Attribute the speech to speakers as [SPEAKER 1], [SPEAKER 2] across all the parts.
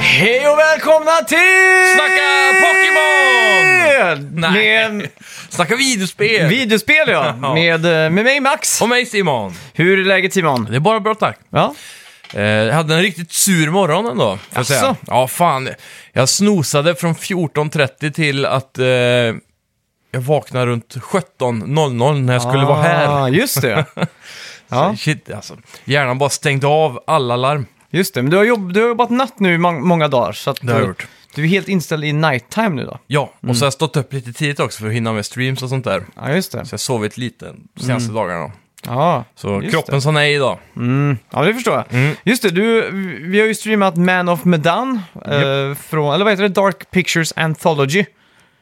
[SPEAKER 1] Hej och välkomna till...
[SPEAKER 2] Snacka Pokémon! Nej.
[SPEAKER 1] Med
[SPEAKER 2] Snacka videospel!
[SPEAKER 1] videospel ja,
[SPEAKER 2] Ja.
[SPEAKER 1] med, eh, med mig Max.
[SPEAKER 2] och mig Simon.
[SPEAKER 1] Hur är läget Simon?
[SPEAKER 2] Det är bara bra tack.
[SPEAKER 1] Ja,
[SPEAKER 2] Eh, jag hade en riktigt sur morgon ändå. får jag säga.
[SPEAKER 1] Jaså?
[SPEAKER 2] Ja, fan. Jag snosade från 14.30 till att eh, jag vaknade runt 17.00 när jag skulle vara här.
[SPEAKER 1] Ah, just det. Ja,
[SPEAKER 2] Shit, alltså. Hjärnan bara stängde av alla larm.
[SPEAKER 1] just det. Men du har, jobb, du har jobbat natt nu i mång- många dagar. Så att
[SPEAKER 2] Det har jag
[SPEAKER 1] du,
[SPEAKER 2] gjort. Mm.
[SPEAKER 1] du är helt inställd i nighttime nu då.
[SPEAKER 2] Ja, och så har jag stått upp lite tidigt också för att hinna med streams och sånt där.
[SPEAKER 1] Ja, just det.
[SPEAKER 2] Så jag har sovit lite de senaste dagarna.
[SPEAKER 1] Ja,
[SPEAKER 2] Så
[SPEAKER 1] Just
[SPEAKER 2] kroppen sa nej idag.
[SPEAKER 1] mm. ja det förstår jag.
[SPEAKER 2] Mm.
[SPEAKER 1] Just det, du, vi har ju streamat Man of Medan. Eh, från, eller vad heter det? Dark Pictures Anthology.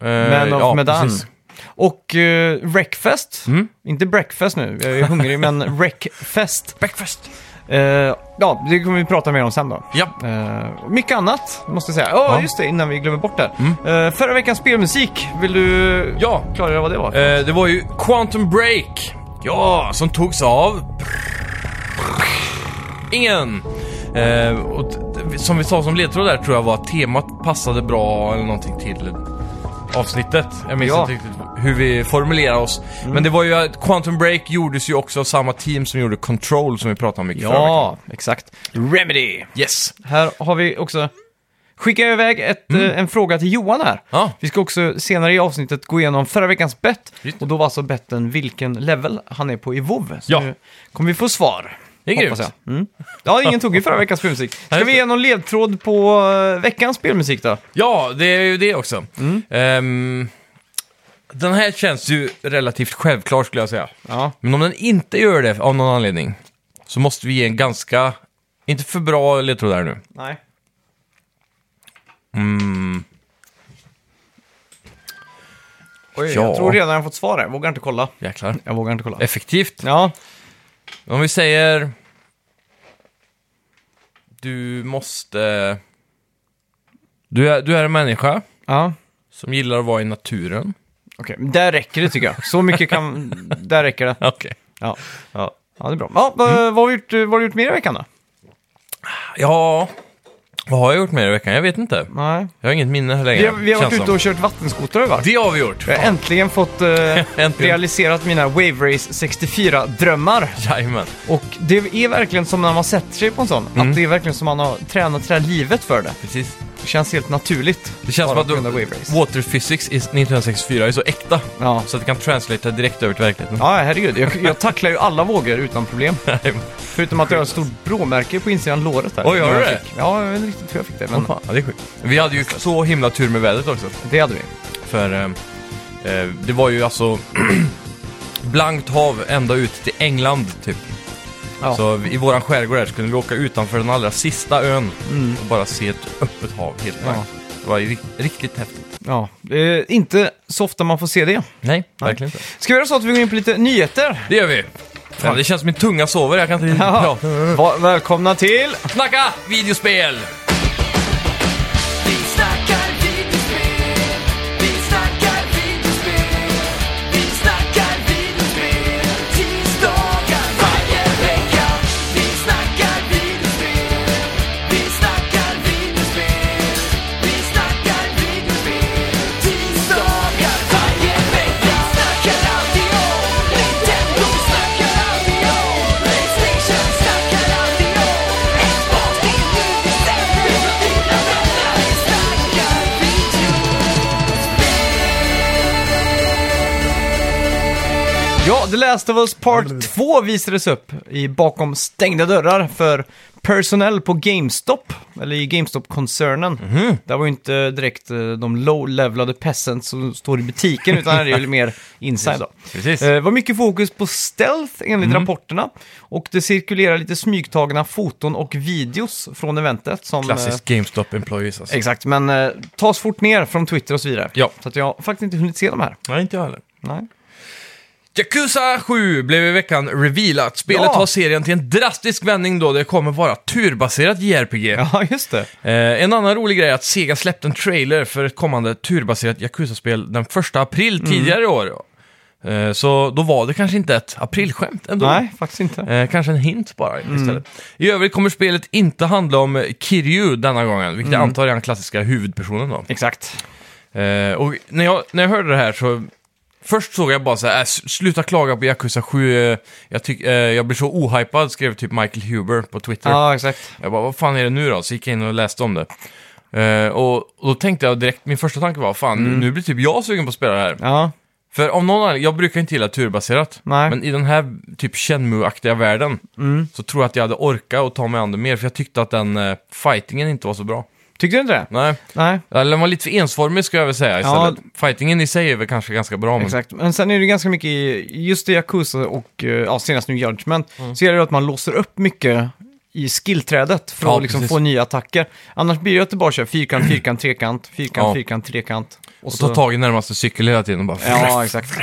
[SPEAKER 2] Eh,
[SPEAKER 1] Man of Medan. Och eh, Wreckfest.
[SPEAKER 2] Mm.
[SPEAKER 1] Inte breakfast nu, jag är hungrig, men wreckfest.
[SPEAKER 2] Breakfast.
[SPEAKER 1] Eh, ja, det kommer vi prata mer om sen då.
[SPEAKER 2] Ja.
[SPEAKER 1] Eh, och mycket annat, måste jag säga. Ja,
[SPEAKER 2] Ja.
[SPEAKER 1] just det, innan vi glömmer bort det. Eh, förra veckans spelmusik, vill du
[SPEAKER 2] Ja,
[SPEAKER 1] klargöra vad det var?
[SPEAKER 2] Eh, det var ju Quantum Break. Ja, som togs av... Ingen. Eh, och t- t- som vi sa som ledtråd där tror jag var att temat passade bra eller någonting till avsnittet. Jag minns
[SPEAKER 1] Ja. Mm.
[SPEAKER 2] inte riktigt hur vi formulerade oss. Men det var ju att Quantum Break gjordes ju också av samma team som gjorde Control som vi pratade om mycket förra veckan.
[SPEAKER 1] ja, exakt. Remedy.
[SPEAKER 2] Yes.
[SPEAKER 1] Här har vi också... Skickar jag iväg ett, eh, en fråga till Johan här.
[SPEAKER 2] Mm. Ja.
[SPEAKER 1] Vi ska också senare i avsnittet gå igenom förra veckans bett.
[SPEAKER 2] Just det.
[SPEAKER 1] Och då var alltså betten vilken level han är på i WoW. Så
[SPEAKER 2] Ja.
[SPEAKER 1] nu kommer vi få svar.
[SPEAKER 2] Det är
[SPEAKER 1] hoppas
[SPEAKER 2] grymt.
[SPEAKER 1] jag. Mm. Ja, ingen tog ju förra veckans spelmusik. Ska
[SPEAKER 2] just
[SPEAKER 1] vi
[SPEAKER 2] det.
[SPEAKER 1] ge någon ledtråd på eh, veckans spelmusik då?
[SPEAKER 2] Ja, det är ju det också.
[SPEAKER 1] Mm.
[SPEAKER 2] Ehm, den här känns ju relativt självklar skulle jag säga.
[SPEAKER 1] Ja.
[SPEAKER 2] Men om den inte gör det av någon anledning så måste vi ge en ganska, inte för bra ledtråd där nu.
[SPEAKER 1] Nej.
[SPEAKER 2] Mm.
[SPEAKER 1] Oj,
[SPEAKER 2] Ja.
[SPEAKER 1] jag tror redan jag fått svar här. Jag vågar inte kolla.
[SPEAKER 2] Jäklar.
[SPEAKER 1] Jag vågar inte kolla.
[SPEAKER 2] Effektivt.
[SPEAKER 1] Ja,
[SPEAKER 2] Om vi säger... Du måste... Du är, du är en människa
[SPEAKER 1] ja.
[SPEAKER 2] som gillar att vara i naturen.
[SPEAKER 1] okej. Men Där räcker det tycker jag. Så mycket kan... Där räcker det.
[SPEAKER 2] Okej.
[SPEAKER 1] Ja. Ja. det är bra. Ja, vad,
[SPEAKER 2] Mm.
[SPEAKER 1] vad, har vi gjort, vad har du gjort mer i veckan då?
[SPEAKER 2] Ja, vad har jag gjort mer i veckan? Jag vet inte.
[SPEAKER 1] Nej.
[SPEAKER 2] Jag har inget minne längre.
[SPEAKER 1] Vi har, vi har varit
[SPEAKER 2] känns
[SPEAKER 1] ute
[SPEAKER 2] som.
[SPEAKER 1] och kört vattenskoter har vi varit.
[SPEAKER 2] Det har vi gjort.
[SPEAKER 1] Jag har äntligen fått eh,
[SPEAKER 2] Äntligen.
[SPEAKER 1] realiserat mina Wave Race 64-drömmar.
[SPEAKER 2] Jajamän.
[SPEAKER 1] Och det är verkligen som när man sätter sig på en sån.
[SPEAKER 2] Mm.
[SPEAKER 1] Att det är verkligen som man har tränat hela livet för det.
[SPEAKER 2] Precis.
[SPEAKER 1] Det känns helt naturligt.
[SPEAKER 2] Det känns som
[SPEAKER 1] Bara
[SPEAKER 2] att
[SPEAKER 1] på grund av
[SPEAKER 2] du,
[SPEAKER 1] Wave Race.
[SPEAKER 2] Water Physics i 1964 är så äkta.
[SPEAKER 1] Ja.
[SPEAKER 2] Så att det kan translatea direkt över till verkligheten.
[SPEAKER 1] Ja, herregud. Jag, jag tacklar ju alla vågor utan problem.
[SPEAKER 2] Eh,
[SPEAKER 1] Förutom att jag har ett stort bråmärke på insidan låret här.
[SPEAKER 2] Oj, har du
[SPEAKER 1] Jag
[SPEAKER 2] det?
[SPEAKER 1] fick- Ja, jag vet inte riktigt hur jag fick det, men
[SPEAKER 2] ja, det är sjukt. Vi hade ju så himla tur med vädret också.
[SPEAKER 1] det hade vi.
[SPEAKER 2] För eh, eh, det var ju alltså blankt hav ända ut till England typ.
[SPEAKER 1] Ja.
[SPEAKER 2] Så vi- i våran skärgård här skulle vi åka utanför den allra sista ön och bara se ett öppet hav helt blankt. Det var ju ri- riktigt häftigt.
[SPEAKER 1] Ja, eh, inte så ofta man får se det.
[SPEAKER 2] Nej, verkligen inte.
[SPEAKER 1] Ska vi göra så att vi går in på lite nyheter?
[SPEAKER 2] Det gör vi! Fan, det känns som min tunga sover, jag kan inte riktigt
[SPEAKER 1] Ja.
[SPEAKER 2] prata.
[SPEAKER 1] Va- välkomna till...
[SPEAKER 2] Snacka videospel!
[SPEAKER 3] Vi snackar videospel, vi snackar videospel, vi snackar videospel, tisdagar varje vecka. Vi snackar videospel, vi snackar videospel, vi snackar videospel, tisdagar varje vecka. Vi snackar alltid om Nintendo, vi snackar alltid om Playstation, vi snackar alltid om Xbox, det är nu vi sätter oss i dina vänner. Vi snackar video.
[SPEAKER 1] Ja, The Last of Us Part 2 visades upp i bakom stängda dörrar för personell på GameStop, eller i GameStop-koncernen.
[SPEAKER 2] Mhm.
[SPEAKER 1] Där var ju inte direkt eh, de low-levelade peasants som står i butiken, utan här är det ju mer inside då.
[SPEAKER 2] Precis. Mhm.
[SPEAKER 1] Det var mycket fokus på stealth enligt rapporterna och det cirkulerar lite smygtagna foton och videos från eventet. Som,
[SPEAKER 2] Klassisk GameStop Employees alltså.
[SPEAKER 1] Eh, exakt, men eh, tas fort ner från Twitter och så vidare.
[SPEAKER 2] Ja.
[SPEAKER 1] Så att jag har faktiskt inte hunnit se de här.
[SPEAKER 2] Nej, inte jag heller.
[SPEAKER 1] Nej.
[SPEAKER 2] Yakuza 7 blev i veckan revealat. Spelet
[SPEAKER 1] Ja.
[SPEAKER 2] tar serien till en drastisk vändning då det kommer vara turbaserat JRPG.
[SPEAKER 1] Ja, just det.
[SPEAKER 2] Eh, en annan rolig grej är att Sega
[SPEAKER 1] Mm.
[SPEAKER 2] släppte en trailer för ett kommande turbaserat Yakuza-spel den 1 april tidigare i år. Eh, Så då var det kanske inte ett aprilskämt ändå.
[SPEAKER 1] Nej, Mm. faktiskt inte.
[SPEAKER 2] Eh, kanske en hint bara istället. I övrigt kommer spelet inte handla om eh, Kiryu denna gången, vilket
[SPEAKER 1] Mm.
[SPEAKER 2] jag antar är den klassiska huvudpersonen då.
[SPEAKER 1] Exakt.
[SPEAKER 2] Eh, och när jag, när jag hörde det här så... Först såg jag bara så här, "Äh, s- sluta klaga på Yakuza 7, eh, jag, tyck, eh, jag blir så ohypad, skrev typ Michael Huber på Twitter.
[SPEAKER 1] Ja, exakt.
[SPEAKER 2] Jag bara, vad fan är det nu då? Så gick jag in och läste om det. Eh, och, och då tänkte jag direkt, min första tanke var, fan
[SPEAKER 1] Mm.
[SPEAKER 2] nu blir typ jag sugen på att spela det här.
[SPEAKER 1] Ja,
[SPEAKER 2] För om någon anledning, jag brukar inte gilla turbaserat,
[SPEAKER 1] Nej. Mm.
[SPEAKER 2] men i den här typ Shenmue-aktiga världen så tror jag att jag hade orkat och ta mig an det mer, för jag tyckte att den eh, fightingen inte var så bra.
[SPEAKER 1] tyckte du inte det?
[SPEAKER 2] Nej,
[SPEAKER 1] Nej,
[SPEAKER 2] eller den var lite för ensformig ska jag väl säga
[SPEAKER 1] Ja.
[SPEAKER 2] istället. Fightingen i sig är väl kanske ganska bra, men
[SPEAKER 1] exakt. Men sen är det ganska mycket i, just i Yakuza och eh, ja, senast nu Judgment,
[SPEAKER 2] Mm.
[SPEAKER 1] så gäller det att man låser upp mycket i skillträdet för
[SPEAKER 2] Ja,
[SPEAKER 1] att liksom
[SPEAKER 2] precis.
[SPEAKER 1] få nya attacker. Annars blir det att du bara kör fyrkant, fyrkant, trekant, fyrkant,
[SPEAKER 2] Ja.
[SPEAKER 1] fyrkant, trekant.
[SPEAKER 2] och ta tag i närmaste cykel hela tiden och bara...
[SPEAKER 1] Ja, exakt.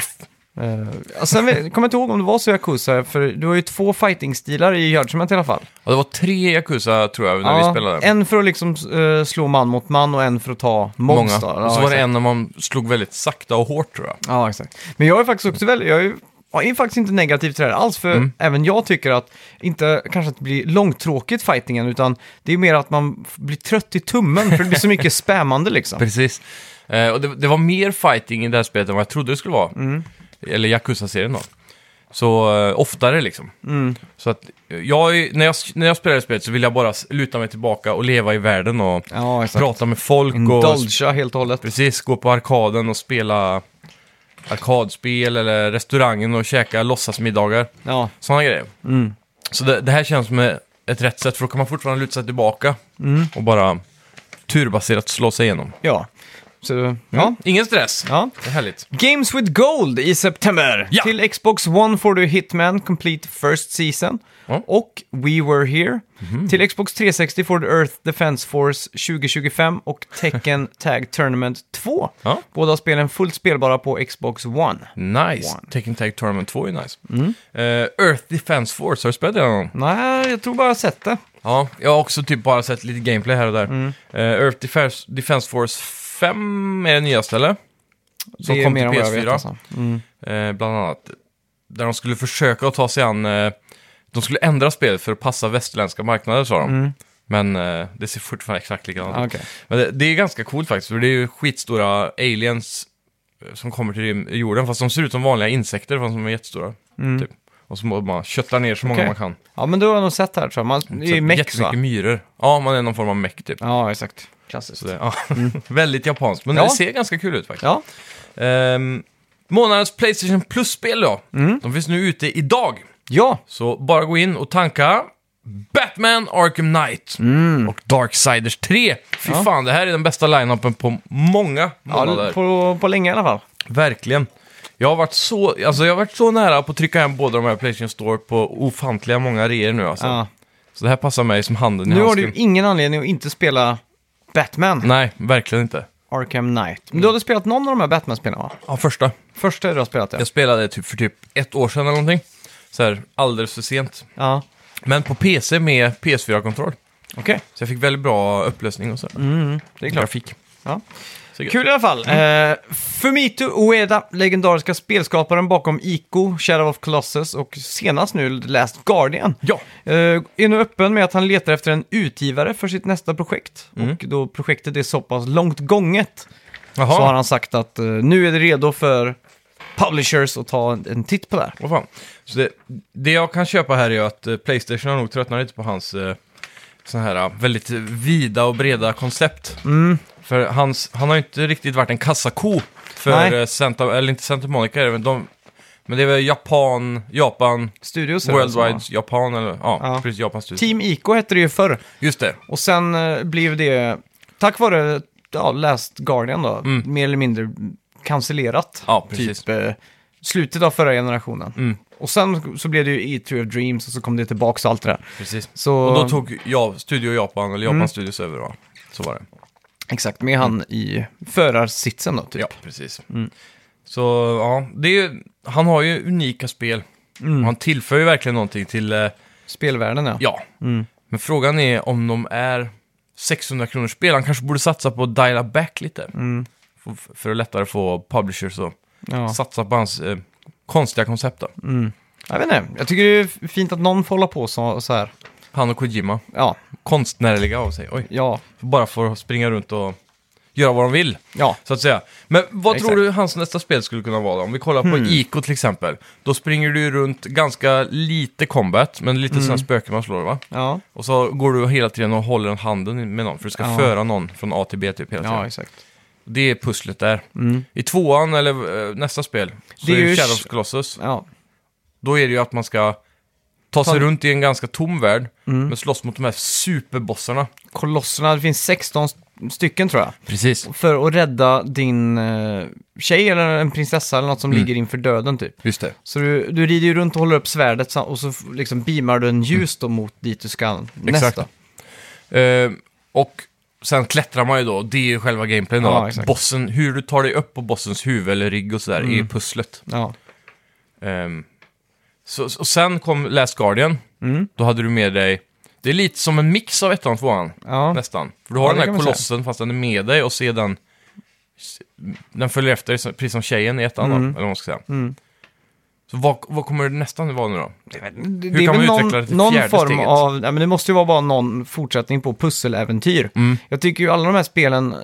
[SPEAKER 1] Uh, sen vet- kommer jag inte ihåg om det var så i Yakuza, för du har ju två fighting-stilar i Judgment i alla fall.
[SPEAKER 2] Ja, det var tre Yakuza tror jag, när vi spelade.
[SPEAKER 1] en för att liksom eh, slå man mot man och en för att ta mobs.
[SPEAKER 2] Många.
[SPEAKER 1] då.
[SPEAKER 2] och så var det
[SPEAKER 1] exakt.
[SPEAKER 2] en när man slog väldigt sakta och hårt tror jag.
[SPEAKER 1] Ja, exakt. Men jag är faktiskt också väldigt, jag är, ju- jag är faktiskt inte negativ till det här alls, för
[SPEAKER 2] Mm.
[SPEAKER 1] även jag tycker att, inte kanske att det blir långtråkigt fightingen, utan det är mer att man f- blir trött i tummen, för det blir så mycket spammande liksom.
[SPEAKER 2] Precis. Eh, och det, det var mer fighting i det här spelet än vad jag trodde det skulle vara.
[SPEAKER 1] Mm.
[SPEAKER 2] Eller Yakuza-serien då. Så eh, oftare liksom.
[SPEAKER 1] Mm.
[SPEAKER 2] Så att eh, jag, är- när, jag, när jag spelar det spelet så vill jag bara s- luta mig tillbaka och leva i världen och
[SPEAKER 1] Ja, exakt.
[SPEAKER 2] prata med folk och sp-
[SPEAKER 1] Indulgea helt och hållet.
[SPEAKER 2] precis, gå på arkaden och spela arkadspel eller restaurangen och käka låtsasmiddagar.
[SPEAKER 1] Ja,
[SPEAKER 2] Sådana grejer.
[SPEAKER 1] Mm.
[SPEAKER 2] Så det, det här känns som ett rätt sätt för då kan man fortfarande luta sig tillbaka
[SPEAKER 1] Mm.
[SPEAKER 2] och bara turbaserat slå sig igenom. Mm.
[SPEAKER 1] ja. Så, ja.
[SPEAKER 2] Ingen stress.
[SPEAKER 1] ja.
[SPEAKER 2] Det är härligt.
[SPEAKER 1] Games with Gold i september.
[SPEAKER 2] Ja.
[SPEAKER 1] Till Xbox One får du Hitman Complete First Season
[SPEAKER 2] Ja. Mhm.
[SPEAKER 1] och We Were Here. Till Xbox 360 får du Earth Defense Force 2025 och Tekken Tag Tournament 2.
[SPEAKER 2] Ja.
[SPEAKER 1] Båda spelen fullt spelbara på Xbox One.
[SPEAKER 2] Nice.
[SPEAKER 1] One. Mm.
[SPEAKER 2] Tekken Tag Tournament 2 är nice. Eh, Earth Defense Force, har du spelat det någon gång?
[SPEAKER 1] Nej, jag tror bara jag har sett det.
[SPEAKER 2] Ja, jag har också typ bara sett lite gameplay här och där.
[SPEAKER 1] Mm.
[SPEAKER 2] Eh, Earth Defense, Defense Force 5 är det nyaste, eller? Som
[SPEAKER 1] det
[SPEAKER 2] kom till PS4,
[SPEAKER 1] alltså. Mm.
[SPEAKER 2] eh, bland annat. Där de skulle försöka att ta sig an... Eh, de skulle ändra spelet för att passa västerländska marknader, sa de. Men eh, det ser fortfarande exakt likadant ut.
[SPEAKER 1] Mm. Ah, Okej.
[SPEAKER 2] Men det, det är ganska coolt faktiskt, för det är ju skitstora aliens eh, som kommer till rym- jorden, fast de ser ut som vanliga insekter, fast de är jättestora. Typ. Och så må- man köttar ner så många
[SPEAKER 1] Mm. Okej.
[SPEAKER 2] man kan.
[SPEAKER 1] Ja, men du har jag nog sett här tror jag. Man, det är
[SPEAKER 2] Så
[SPEAKER 1] ju mex va? Ah.
[SPEAKER 2] Jättemycket myror. Ja, man är någon form av meck typ.
[SPEAKER 1] Ja, exakt. Klassiskt.
[SPEAKER 2] Så det, ja. Väldigt japanskt, men
[SPEAKER 1] Mm. Ja.
[SPEAKER 2] det ser ganska kul ut faktiskt.
[SPEAKER 1] Ja,
[SPEAKER 2] Ehm, månadens Playstation Plus-spel då.
[SPEAKER 1] Mm.
[SPEAKER 2] De finns nu ute idag.
[SPEAKER 1] ja.
[SPEAKER 2] Så bara gå in och tanka Batman Arkham Knight och Darksiders 3. Fy
[SPEAKER 1] Mm. Ja.
[SPEAKER 2] fan, det här är den bästa line-upen på många månader.
[SPEAKER 1] ja på, på länge i alla fall.
[SPEAKER 2] Verkligen. Jag har, varit så, alltså jag har varit så nära på att trycka hem båda de här Playstation Store på ofantliga många reor nu alltså.
[SPEAKER 1] Ja.
[SPEAKER 2] Så det här passar mig som handen
[SPEAKER 1] Nu
[SPEAKER 2] i
[SPEAKER 1] har
[SPEAKER 2] handsken.
[SPEAKER 1] du ju ingen anledning att inte spela Batman.
[SPEAKER 2] Nej, verkligen inte.
[SPEAKER 1] Arkham Knight. Men du hade spelat någon av de här Batman-spelen va?
[SPEAKER 2] Ja, första.
[SPEAKER 1] Första du har spelat det?
[SPEAKER 2] Jag spelade typ för typ ett år sedan eller någonting. Så här, alldeles för sent.
[SPEAKER 1] Ja.
[SPEAKER 2] Men på PC med PS4-kontroll.
[SPEAKER 1] Okej,
[SPEAKER 2] Så jag fick väldigt bra upplösning och så.
[SPEAKER 1] Mm, det är klart.
[SPEAKER 2] Grafik.
[SPEAKER 1] Ja.
[SPEAKER 2] Så gött.
[SPEAKER 1] Kul i alla fall.
[SPEAKER 2] Mm.
[SPEAKER 1] Eh, Fumito Ueda, legendariska spelskaparen bakom Ico, Shadow of Colossus och senast nu The Last Guardian.
[SPEAKER 2] Ja,
[SPEAKER 1] Eh, är nu öppen med att han letar efter en utgivare för sitt nästa projekt.
[SPEAKER 2] Mm.
[SPEAKER 1] Och då projektet är så pass långt gånget så har
[SPEAKER 2] jaha.
[SPEAKER 1] han sagt att eh, nu är det redo för publishers att ta en, en titt på det här.
[SPEAKER 2] Vad fan. Så det, det jag kan köpa här är ju att eh, Playstation har nog tröttnat lite på hans eh, sån här eh, väldigt vida och breda koncept.
[SPEAKER 1] Mm.
[SPEAKER 2] För hans, han har ju inte riktigt varit en kassako för
[SPEAKER 1] Nej.
[SPEAKER 2] eh, Santa, eller inte Santa Monica är det, men de, men det är väl Japan, Japan,
[SPEAKER 1] Studios är det alltså, va?
[SPEAKER 2] Worldwide Japan eller ja,
[SPEAKER 1] Ja.
[SPEAKER 2] precis Japan Studios.
[SPEAKER 1] Team Ico hette det ju förr.
[SPEAKER 2] Just det.
[SPEAKER 1] Och sen eh, blev det, tack vare ja, Last Guardian då, mer eller mindre cancellerat.
[SPEAKER 2] Mm. Ja, precis.
[SPEAKER 1] Typ eh, slutet av förra generationen.
[SPEAKER 2] Mm.
[SPEAKER 1] Och sen så blev det ju E3 of Dreams och så kom det tillbaka och allt det där.
[SPEAKER 2] Precis.
[SPEAKER 1] Så,
[SPEAKER 2] Och då tog jag Studio Japan, eller
[SPEAKER 1] Mm.
[SPEAKER 2] Japan Studios över va? Så var det.
[SPEAKER 1] exakt, med han i förarsitsen då typ.
[SPEAKER 2] Ja, precis. Så ja, det är, ju- han har ju unika spel.
[SPEAKER 1] Mm.
[SPEAKER 2] Och han tillför ju verkligen någonting till, eh,
[SPEAKER 1] Spelvärlden ja.
[SPEAKER 2] ja.
[SPEAKER 1] Mm.
[SPEAKER 2] Men frågan är om de är 600 kronors spel. Han kanske borde satsa på att diala back lite. För, för att lättare få publishers att
[SPEAKER 1] Mm. Ja.
[SPEAKER 2] satsa på hans eh, konstiga koncept då.
[SPEAKER 1] Jag vet inte, jag tycker det är fint att någon får hålla på så, så här.
[SPEAKER 2] Han och Kojima,
[SPEAKER 1] Ja,
[SPEAKER 2] konstnärliga av sig. Oj.
[SPEAKER 1] ja,
[SPEAKER 2] Bara får springa runt och göra vad de vill,
[SPEAKER 1] ja.
[SPEAKER 2] så att säga. Men vad
[SPEAKER 1] Exakt. Hmm.
[SPEAKER 2] tror du hans nästa spel skulle kunna vara då? Om vi kollar på Ico till exempel. Då springer du ju runt ganska lite combat, men
[SPEAKER 1] Hmm.
[SPEAKER 2] lite sådana spöken man slår va?
[SPEAKER 1] Ja,
[SPEAKER 2] Och så går du hela tiden och håller en handen med någon, för du ska
[SPEAKER 1] Ja.
[SPEAKER 2] föra någon från A till B typ hela tiden.
[SPEAKER 1] ja exakt.
[SPEAKER 2] Det är pusslet där. I tvåan, eller eh, nästa spel, så
[SPEAKER 1] Det är
[SPEAKER 2] är
[SPEAKER 1] ju-
[SPEAKER 2] ju Shadow of the Colossus.
[SPEAKER 1] Ja,
[SPEAKER 2] Då är det ju att man ska ta sig
[SPEAKER 1] Ta- Hmm.
[SPEAKER 2] runt i en ganska tom värld, men slåss mot de här superbossarna.
[SPEAKER 1] kolosserna, det finns 16 st- stycken tror jag.
[SPEAKER 2] Precis.
[SPEAKER 1] För att rädda din eh, tjej eller en prinsessa eller något som
[SPEAKER 2] Mm.
[SPEAKER 1] ligger inför döden typ.
[SPEAKER 2] Just det.
[SPEAKER 1] Så du, du rider ju runt och håller upp svärdet sam- och så f- liksom beamar du en ljus då mot dit du ska
[SPEAKER 2] Mm. Exakt.
[SPEAKER 1] nästa.
[SPEAKER 2] Eh, och sen klättrar man ju då, det är ju själva gameplayen då.
[SPEAKER 1] Ja,
[SPEAKER 2] att
[SPEAKER 1] exakt.
[SPEAKER 2] bossen, hur du tar dig upp på bossens huvud eller rygg och sådär,
[SPEAKER 1] Mm.
[SPEAKER 2] är pusslet.
[SPEAKER 1] Ja,
[SPEAKER 2] Ehm, så, så- och sen kom Last Guardian.
[SPEAKER 1] Mm.
[SPEAKER 2] Då hade du med dig... Det är lite som en mix av ettan och tvåan,
[SPEAKER 1] ja.
[SPEAKER 2] nästan. För du har
[SPEAKER 1] Ja, det
[SPEAKER 2] den
[SPEAKER 1] kan
[SPEAKER 2] här
[SPEAKER 1] man säga.
[SPEAKER 2] kolossen fast den är med dig och ser den... Den följer efter dig, som- precis som tjejen i ettan
[SPEAKER 1] Mm.
[SPEAKER 2] då, eller vad man ska säga. Så vad, vad kommer det nästan vara nu då?
[SPEAKER 1] Det,
[SPEAKER 2] Hur
[SPEAKER 1] är väl
[SPEAKER 2] kan man
[SPEAKER 1] någon,
[SPEAKER 2] utveckla det till
[SPEAKER 1] någon
[SPEAKER 2] fjärde
[SPEAKER 1] form
[SPEAKER 2] steget?
[SPEAKER 1] av, ja, men det måste ju vara bara någon fortsättning på pusseläventyr.
[SPEAKER 2] Mm.
[SPEAKER 1] Jag tycker ju alla de här spelen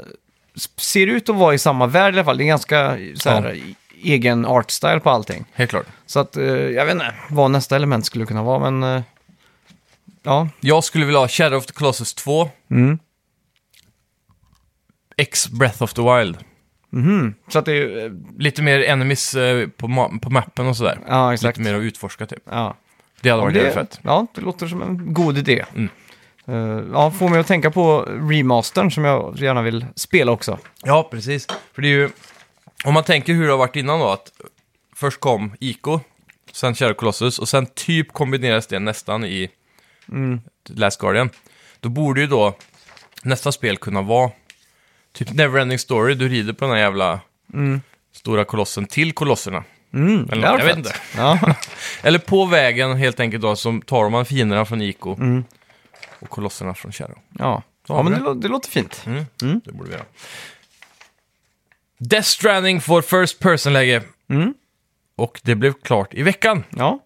[SPEAKER 1] s- ser ut att vara i samma värld i alla fall. Det är ganska eh, så här, egen artstyle på allting.
[SPEAKER 2] Helt klart.
[SPEAKER 1] Så att, eh, jag vet inte vad nästa element skulle kunna vara, men... eh, ja,
[SPEAKER 2] Jag skulle vilja ha Shadow of the Colossus 2.
[SPEAKER 1] Mm.
[SPEAKER 2] X Breath of the Wild.
[SPEAKER 1] så att det är ju... eh,
[SPEAKER 2] Lite mer enemies eh, på, ma- på mappen och sådär.
[SPEAKER 1] Ja, exakt.
[SPEAKER 2] Lite mer att utforska typ.
[SPEAKER 1] Ja.
[SPEAKER 2] Det hade varit
[SPEAKER 1] det,
[SPEAKER 2] jävligt fett.
[SPEAKER 1] ja, det låter som en god idé.
[SPEAKER 2] Mm.
[SPEAKER 1] Eh, ja, får mig att tänka på remastern som jag gärna vill spela också.
[SPEAKER 2] Ja, precis. För det är ju... Om man tänker hur det har varit innan då, att först kom Ico, sen Shadow Colossus och sen typ kombineras det nästan i
[SPEAKER 1] Mm.
[SPEAKER 2] Last Guardian. Då borde ju då nästa spel kunna vara typ Neverending Story, du rider på den här jävla stora kolossen till kolosserna.
[SPEAKER 1] Mm,
[SPEAKER 2] Eller
[SPEAKER 1] det hade
[SPEAKER 2] något, jag
[SPEAKER 1] varit
[SPEAKER 2] vet
[SPEAKER 1] fett. Ja,
[SPEAKER 2] Eller på vägen helt enkelt då, som tar man fienderna från Ico
[SPEAKER 1] Mm.
[SPEAKER 2] och kolosserna från Shadow.
[SPEAKER 1] ja. ja men det, lå- det låter fint.
[SPEAKER 2] Mm. Det borde vi göra. Death Stranding får first person-läge.
[SPEAKER 1] Mm.
[SPEAKER 2] Och det blev klart i veckan
[SPEAKER 1] Ja,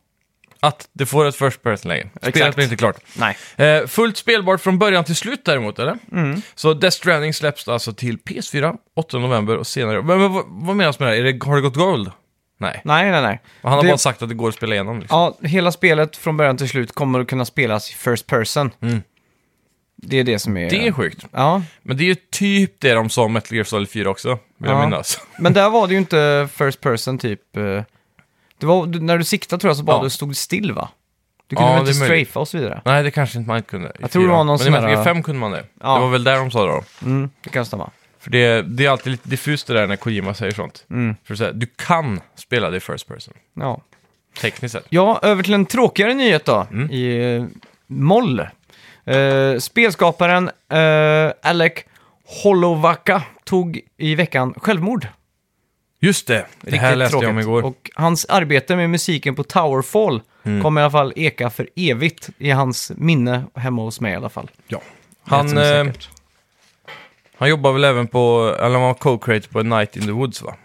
[SPEAKER 1] att...
[SPEAKER 2] det får ett first person-läge. Spelet
[SPEAKER 1] Exakt.
[SPEAKER 2] blev inte klart.
[SPEAKER 1] Nej.
[SPEAKER 2] Eh, fullt spelbart från början till slut däremot, eller?
[SPEAKER 1] Mm.
[SPEAKER 2] Så Death Stranding släpps alltså till PS4 8 november och senare. Men, men vad, vad menas med det här? Är det, har det gått gold? Nej.
[SPEAKER 1] Nej, nej, nej.
[SPEAKER 2] Han har
[SPEAKER 1] Det-
[SPEAKER 2] bara sagt att det går att spela igenom. Liksom.
[SPEAKER 1] Ja, hela spelet från början till slut kommer att kunna spelas i first person.
[SPEAKER 2] Mm.
[SPEAKER 1] Det är det som är...
[SPEAKER 2] Det är sjukt.
[SPEAKER 1] Ja,
[SPEAKER 2] Men det är ju typ det de sa om Metal Gear Solid 4 också, vill
[SPEAKER 1] Ja.
[SPEAKER 2] jag minnas.
[SPEAKER 1] men där var det ju inte first person typ... eh, Det var, du- när du siktade tror jag så bara
[SPEAKER 2] Ja.
[SPEAKER 1] du stod still va? Du kunde
[SPEAKER 2] Ja,
[SPEAKER 1] väl
[SPEAKER 2] det
[SPEAKER 1] inte
[SPEAKER 2] är möjligt.
[SPEAKER 1] strafa och så vidare?
[SPEAKER 2] Nej, det kanske inte man inte kunde. i
[SPEAKER 1] Jag tror det
[SPEAKER 2] fyran.
[SPEAKER 1] var någon
[SPEAKER 2] Men i
[SPEAKER 1] sån
[SPEAKER 2] Metal
[SPEAKER 1] här-
[SPEAKER 2] Gear 5 kunde man det.
[SPEAKER 1] Ja.
[SPEAKER 2] Det var väl där de sa det då.
[SPEAKER 1] Mm, det kan stämma.
[SPEAKER 2] För det, det är alltid lite diffust det där när Kojima säger sånt.
[SPEAKER 1] Mm.
[SPEAKER 2] För att säga, du kan spela det i first person,
[SPEAKER 1] Ja.
[SPEAKER 2] tekniskt sett.
[SPEAKER 1] Ja, över till en tråkigare nyhet då,
[SPEAKER 2] Mm.
[SPEAKER 1] i eh, moll. Eh, spelskaparen eh, Alec Holovaka tog i veckan självmord.
[SPEAKER 2] Just det, det här
[SPEAKER 1] Riktigt
[SPEAKER 2] läste jag om
[SPEAKER 1] tråkigt.
[SPEAKER 2] igår. Mm.
[SPEAKER 1] Och hans arbete med musiken på Towerfall kommer i alla fall eka för evigt i hans minne hemma hos mig i alla fall.
[SPEAKER 2] ja.
[SPEAKER 1] Rätt
[SPEAKER 2] han,
[SPEAKER 1] som är
[SPEAKER 2] eh,
[SPEAKER 1] säkert.
[SPEAKER 2] han jobbar väl även på, eller han var co-creator på Night in the Woods va?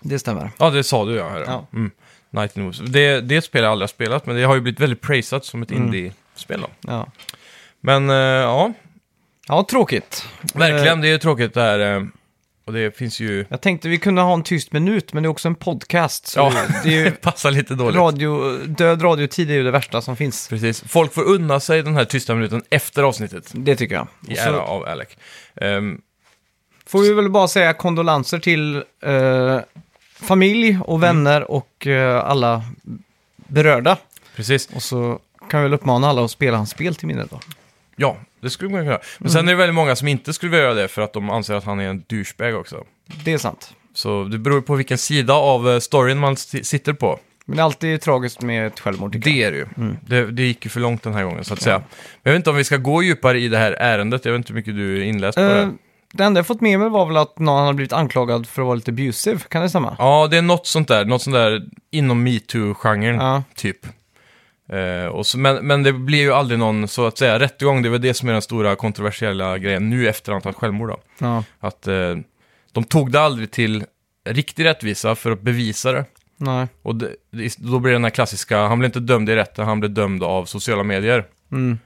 [SPEAKER 1] Det stämmer.
[SPEAKER 2] Ja, det sa du ja. Här.
[SPEAKER 1] Mm. Ja.
[SPEAKER 2] Mm. Night in the Woods. Det, det är ett spel jag aldrig har spelat, men det har ju blivit väldigt praisat som ett
[SPEAKER 1] Mm.
[SPEAKER 2] indie-spel då.
[SPEAKER 1] Ja,
[SPEAKER 2] Men eh, ja,
[SPEAKER 1] ja tråkigt.
[SPEAKER 2] verkligen,
[SPEAKER 1] Eh,
[SPEAKER 2] det är tråkigt det här. eh, Och det finns ju...
[SPEAKER 1] jag tänkte vi kunde ha en tyst minut, men det är också en podcast. Så
[SPEAKER 2] Ja,
[SPEAKER 1] det är ju
[SPEAKER 2] det passar lite dåligt.
[SPEAKER 1] radio, död radiotid är ju det värsta som finns.
[SPEAKER 2] Precis. Folk får unna sig den här tysta minuten efter avsnittet.
[SPEAKER 1] Det tycker jag.
[SPEAKER 2] I
[SPEAKER 1] Och
[SPEAKER 2] ära
[SPEAKER 1] så
[SPEAKER 2] av Alec. Ehm,
[SPEAKER 1] får vi väl bara säga kondolenser till eh, familj och vänner och eh, alla berörda.
[SPEAKER 2] precis.
[SPEAKER 1] Och så kan vi väl uppmana alla att spela hans spel till minnet då.
[SPEAKER 2] Ja, det skulle man kunna göra. Men sen är det väldigt många som inte skulle vilja göra det för att de anser att han är en douchebag också.
[SPEAKER 1] Det är sant.
[SPEAKER 2] Så det beror ju på vilken sida av eh, storyn man si- sitter på.
[SPEAKER 1] Men det är alltid tragiskt med ett självmord tycker jag.
[SPEAKER 2] Det är det ju. Det, det gick ju för långt den här gången så att säga. Men jag vet inte om vi ska gå djupare i det här ärendet. Jag vet inte hur mycket du är inläst på
[SPEAKER 1] Eh,
[SPEAKER 2] det.
[SPEAKER 1] det enda jag fått med mig var väl att någon har blivit anklagad för att vara lite abusive, kan det stämma?
[SPEAKER 2] Ja, det är något sånt där. Något sånt där inom metoo-genren,
[SPEAKER 1] Ja.
[SPEAKER 2] typ. Eh, och så, men, men det blir ju aldrig någon, så att säga, rättegång. Det är väl det som är den stora kontroversiella grejen nu efter antalet självmord då.
[SPEAKER 1] Ja.
[SPEAKER 2] Att eh, de tog det aldrig till riktig rättvisa för att bevisa det.
[SPEAKER 1] Nej.
[SPEAKER 2] Och det, det- då blir det den här klassiska, han blev inte dömd i rätten, han blev dömd av sociala medier.
[SPEAKER 1] Mm.